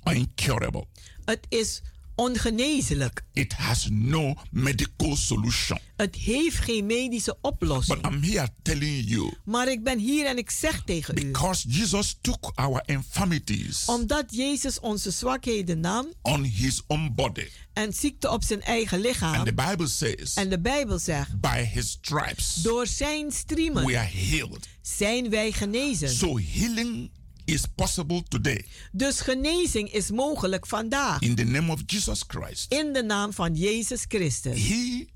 [SPEAKER 10] incurable.
[SPEAKER 9] Het is ongeneeslijk.
[SPEAKER 10] It has no medical solution.
[SPEAKER 9] Het heeft geen medische oplossing.
[SPEAKER 10] But I'm here telling you,
[SPEAKER 9] maar ik ben hier en ik zeg tegen
[SPEAKER 10] because u. Jesus took our infirmities
[SPEAKER 9] omdat Jezus onze zwakheden nam.
[SPEAKER 10] On his own body.
[SPEAKER 9] En ziekte op zijn eigen lichaam.
[SPEAKER 10] And the Bible says,
[SPEAKER 9] en de Bijbel zegt.
[SPEAKER 10] By his stripes,
[SPEAKER 9] door zijn striemen.
[SPEAKER 10] We are healed.
[SPEAKER 9] Zijn wij genezen.
[SPEAKER 10] So healing is possible today.
[SPEAKER 9] Dus genezing is mogelijk vandaag.
[SPEAKER 10] In the name of Jesus Christ.
[SPEAKER 9] In de naam van Jezus Christus.
[SPEAKER 10] He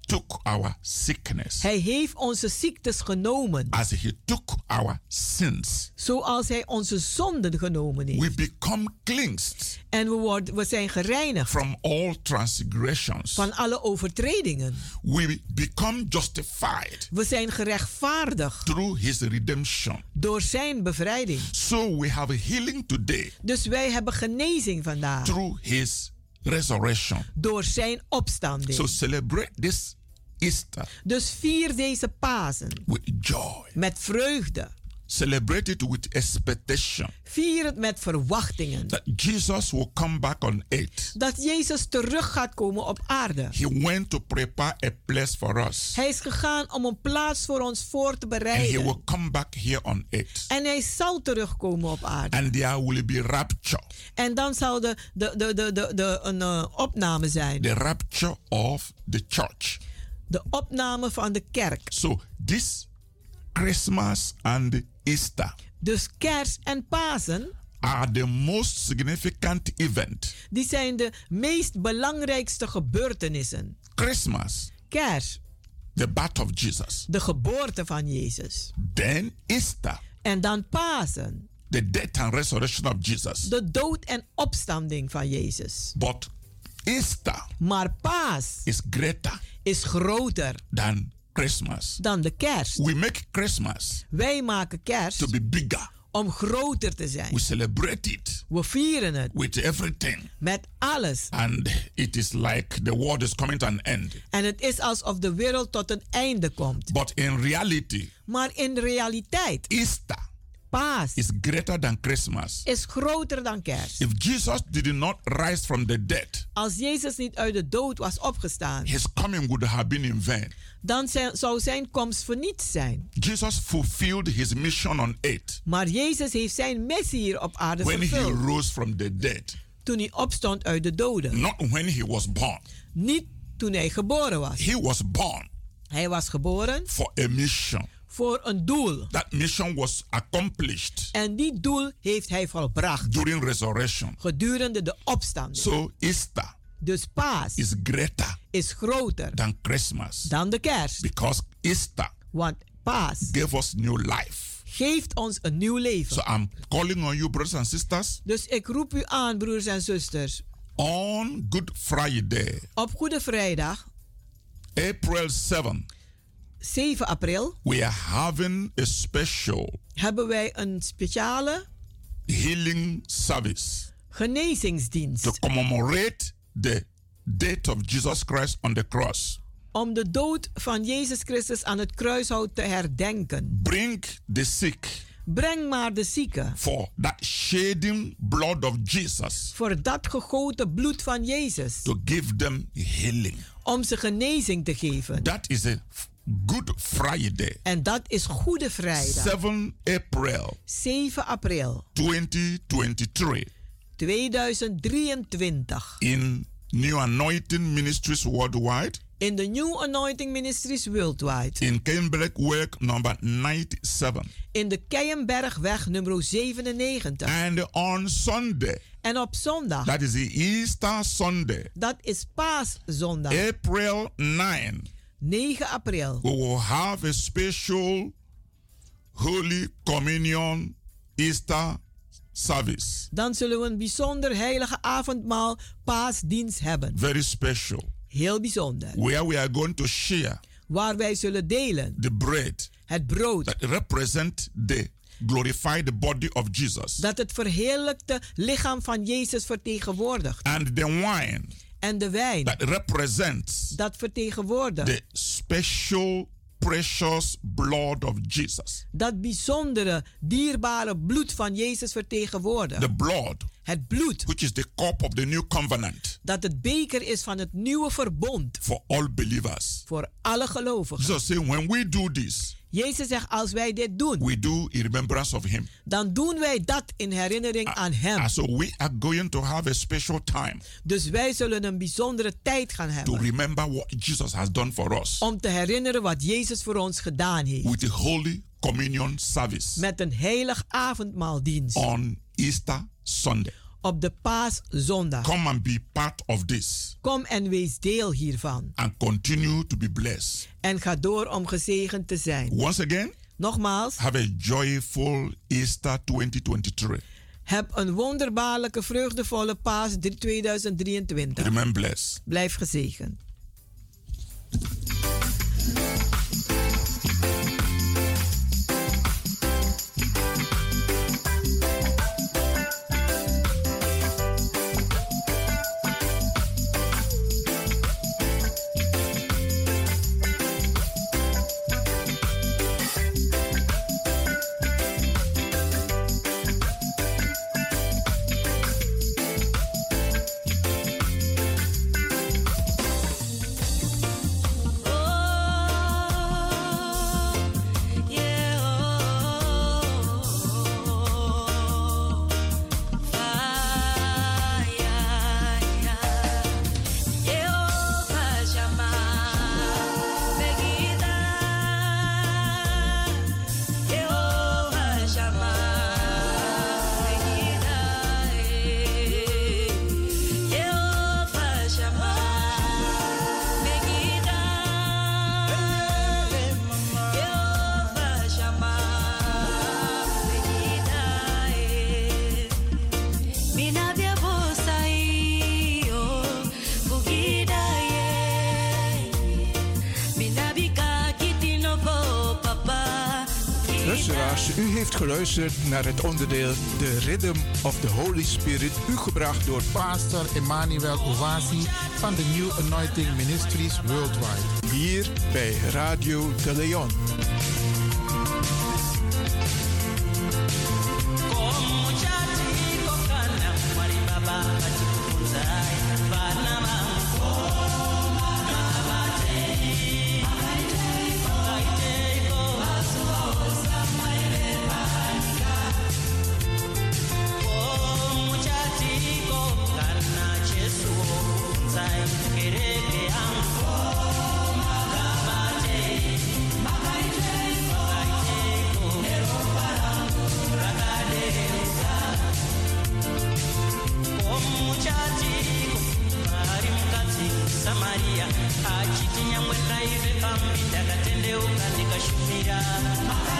[SPEAKER 10] took our sickness.
[SPEAKER 9] Hij heeft onze ziektes genomen.
[SPEAKER 10] As he took our sins.
[SPEAKER 9] Zoals hij onze zonden genomen heeft.
[SPEAKER 10] We become cleansed.
[SPEAKER 9] En we, worden, we zijn gereinigd.
[SPEAKER 10] From all transgressions.
[SPEAKER 9] Van alle overtredingen.
[SPEAKER 10] We become justified.
[SPEAKER 9] We zijn gerechtvaardigd.
[SPEAKER 10] Through his redemption.
[SPEAKER 9] Door zijn bevrijding.
[SPEAKER 10] So we have healing today.
[SPEAKER 9] Dus wij hebben genezing vandaag.
[SPEAKER 10] Through his resurrection.
[SPEAKER 9] Door zijn opstanding.
[SPEAKER 10] So celebrate this Easter.
[SPEAKER 9] Dus vier deze Pasen.
[SPEAKER 10] With joy.
[SPEAKER 9] Met vreugde.
[SPEAKER 10] Celebrate it with expectation.
[SPEAKER 9] Vier het met verwachtingen.
[SPEAKER 10] That Jesus will come back on earth.
[SPEAKER 9] Dat Jezus terug gaat komen op aarde.
[SPEAKER 10] He went to prepare a place for us.
[SPEAKER 9] Hij is gegaan om een plaats voor ons voor te bereiden.
[SPEAKER 10] And he will come back here on earth.
[SPEAKER 9] En hij zal terugkomen op aarde.
[SPEAKER 10] And there will be rapture.
[SPEAKER 9] En dan zal de, de, de, de, de, de een uh, opname zijn.
[SPEAKER 10] The rapture of the church.
[SPEAKER 9] De opname van de kerk.
[SPEAKER 10] So this Christmas and Easter.
[SPEAKER 9] Dus kerst en Pasen.
[SPEAKER 10] Are the most significant event.
[SPEAKER 9] Die zijn de meest belangrijkste gebeurtenissen.
[SPEAKER 10] Christmas.
[SPEAKER 9] Kerst.
[SPEAKER 10] The birth of Jesus.
[SPEAKER 9] De geboorte van Jezus.
[SPEAKER 10] Then Easter.
[SPEAKER 9] En dan Pasen.
[SPEAKER 10] The death and resurrection of Jesus.
[SPEAKER 9] De dood en opstanding van Jezus.
[SPEAKER 10] But Easter.
[SPEAKER 9] Maar Paas.
[SPEAKER 10] Is greater.
[SPEAKER 9] Is groter.
[SPEAKER 10] Dan Christmas.
[SPEAKER 9] Dan de kerst.
[SPEAKER 10] We make Christmas.
[SPEAKER 9] Wij maken kerst.
[SPEAKER 10] To be bigger.
[SPEAKER 9] Om groter te zijn.
[SPEAKER 10] We celebrate it.
[SPEAKER 9] We vieren het.
[SPEAKER 10] With everything.
[SPEAKER 9] Met alles.
[SPEAKER 10] And it is like the world is coming to an end.
[SPEAKER 9] En het is alsof de wereld tot een einde komt.
[SPEAKER 10] But in reality.
[SPEAKER 9] Maar in realiteit.
[SPEAKER 10] Easter.
[SPEAKER 9] Paas.
[SPEAKER 10] Is greater than Christmas.
[SPEAKER 9] Is groter dan kerst.
[SPEAKER 10] If Jesus did not rise from the dead.
[SPEAKER 9] Als Jezus niet uit de dood was opgestaan.
[SPEAKER 10] His coming would have been in vain
[SPEAKER 9] dan zijn, zou zijn komst verniet zijn.
[SPEAKER 10] Jesus fulfilled his mission on earth.
[SPEAKER 9] Maar Jezus heeft zijn missie hier op aarde
[SPEAKER 10] when
[SPEAKER 9] vervuld.
[SPEAKER 10] He rose from the dead.
[SPEAKER 9] Toen hij opstond uit de doden.
[SPEAKER 10] Not when he was born.
[SPEAKER 9] Niet toen hij geboren was.
[SPEAKER 10] He was born.
[SPEAKER 9] Hij was geboren.
[SPEAKER 10] For a mission.
[SPEAKER 9] Voor een doel.
[SPEAKER 10] That mission was accomplished.
[SPEAKER 9] En die doel heeft hij volbracht.
[SPEAKER 10] During resurrection.
[SPEAKER 9] Gedurende de opstanding.
[SPEAKER 10] So Easter.
[SPEAKER 9] Dus paas
[SPEAKER 10] is greater
[SPEAKER 9] is groter
[SPEAKER 10] dan Christmas.
[SPEAKER 9] Dan de kerst.
[SPEAKER 10] Because Easter
[SPEAKER 9] want paas
[SPEAKER 10] gave us new life.
[SPEAKER 9] Geeft ons een nieuw leven.
[SPEAKER 10] So I'm calling on you brothers and sisters.
[SPEAKER 9] Dus ik roep u aan broers en zusters.
[SPEAKER 10] On Good Friday.
[SPEAKER 9] Op Goede Vrijdag.
[SPEAKER 10] April 7.
[SPEAKER 9] 7 april.
[SPEAKER 10] We are having a special.
[SPEAKER 9] Hebben wij een speciale
[SPEAKER 10] healing service
[SPEAKER 9] genezingsdienst.
[SPEAKER 10] To commemorate the death of Jesus Christ on the cross.
[SPEAKER 9] Om de dood van Jezus Christus aan het kruishout te herdenken.
[SPEAKER 10] Bring the sick.
[SPEAKER 9] Breng maar de zieken.
[SPEAKER 10] For that shedding blood of Jesus.
[SPEAKER 9] Voor dat gegoten bloed van Jezus.
[SPEAKER 10] To give them healing.
[SPEAKER 9] Om ze genezing te geven.
[SPEAKER 10] That is a Good Friday.
[SPEAKER 9] En dat is Goede Vrijdag.
[SPEAKER 10] 7 April.
[SPEAKER 9] 7 april.
[SPEAKER 10] 2023.
[SPEAKER 9] 2023.
[SPEAKER 10] In New Anointing Ministries Worldwide.
[SPEAKER 9] In de New Anointing Ministries Worldwide.
[SPEAKER 10] In Keienbergweg number 97.
[SPEAKER 9] In de Keienbergweg nummer 97.
[SPEAKER 10] And on Sunday.
[SPEAKER 9] En op zondag.
[SPEAKER 10] That is the Easter Sunday.
[SPEAKER 9] Dat is Paaszondag.
[SPEAKER 10] April 9.
[SPEAKER 9] 9 april.
[SPEAKER 10] We will have a special Holy Communion Easter service.
[SPEAKER 9] Dan zullen we een bijzonder heilige avondmaal paasdienst hebben.
[SPEAKER 10] Very special.
[SPEAKER 9] Heel bijzonder.
[SPEAKER 10] Where we are going to share.
[SPEAKER 9] Waar wij zullen delen.
[SPEAKER 10] The bread.
[SPEAKER 9] Het brood.
[SPEAKER 10] That represent the glorified body of Jesus.
[SPEAKER 9] Dat het verheerlijkte lichaam van Jezus vertegenwoordigt.
[SPEAKER 10] And the wine.
[SPEAKER 9] En de wijn.
[SPEAKER 10] That represents.
[SPEAKER 9] Dat vertegenwoordigt.
[SPEAKER 10] The special precious blood of Jesus.
[SPEAKER 9] Dat bijzondere, dierbare bloed van Jezus vertegenwoordigt.
[SPEAKER 10] The blood.
[SPEAKER 9] Het bloed.
[SPEAKER 10] Which is the cup of the new covenant.
[SPEAKER 9] Dat het beker is van het nieuwe verbond.
[SPEAKER 10] For all believers.
[SPEAKER 9] Voor alle gelovigen.
[SPEAKER 10] Jesus saying, when we do this.
[SPEAKER 9] Jezus zegt, als wij dit doen,
[SPEAKER 10] we do in remembrance of him.
[SPEAKER 9] dan doen wij dat in herinnering
[SPEAKER 10] uh,
[SPEAKER 9] aan Hem.
[SPEAKER 10] Uh, so we are going to have a special time
[SPEAKER 9] dus wij zullen een bijzondere tijd gaan hebben
[SPEAKER 10] to remember what Jesus has done for us.
[SPEAKER 9] om te herinneren wat Jezus voor ons gedaan heeft.
[SPEAKER 10] With the Holy Communion service. Ah.
[SPEAKER 9] Met een heilig avondmaaldienst.
[SPEAKER 10] On Easter Sunday.
[SPEAKER 9] op de paaszondag.
[SPEAKER 10] Come and be part of this.
[SPEAKER 9] Kom en wees deel hiervan.
[SPEAKER 10] And continue to be blessed.
[SPEAKER 9] En ga door om gezegend te zijn.
[SPEAKER 10] Once again,
[SPEAKER 9] Nogmaals,
[SPEAKER 10] have a joyful Easter 2023.
[SPEAKER 9] heb een wonderbaarlijke, vreugdevolle paas 2023.
[SPEAKER 10] Remain blessed.
[SPEAKER 9] Blijf gezegend.
[SPEAKER 12] Luisteraars, u heeft geluisterd naar het onderdeel The Rhythm of the Holy Spirit, u gebracht door
[SPEAKER 1] Pastor Emmanuel Owasi van de New Anointing Ministries Worldwide.
[SPEAKER 12] hier bij Radio de Leon.
[SPEAKER 13] Samaria, achitinha mweka ive pambita katendeuka nikashumira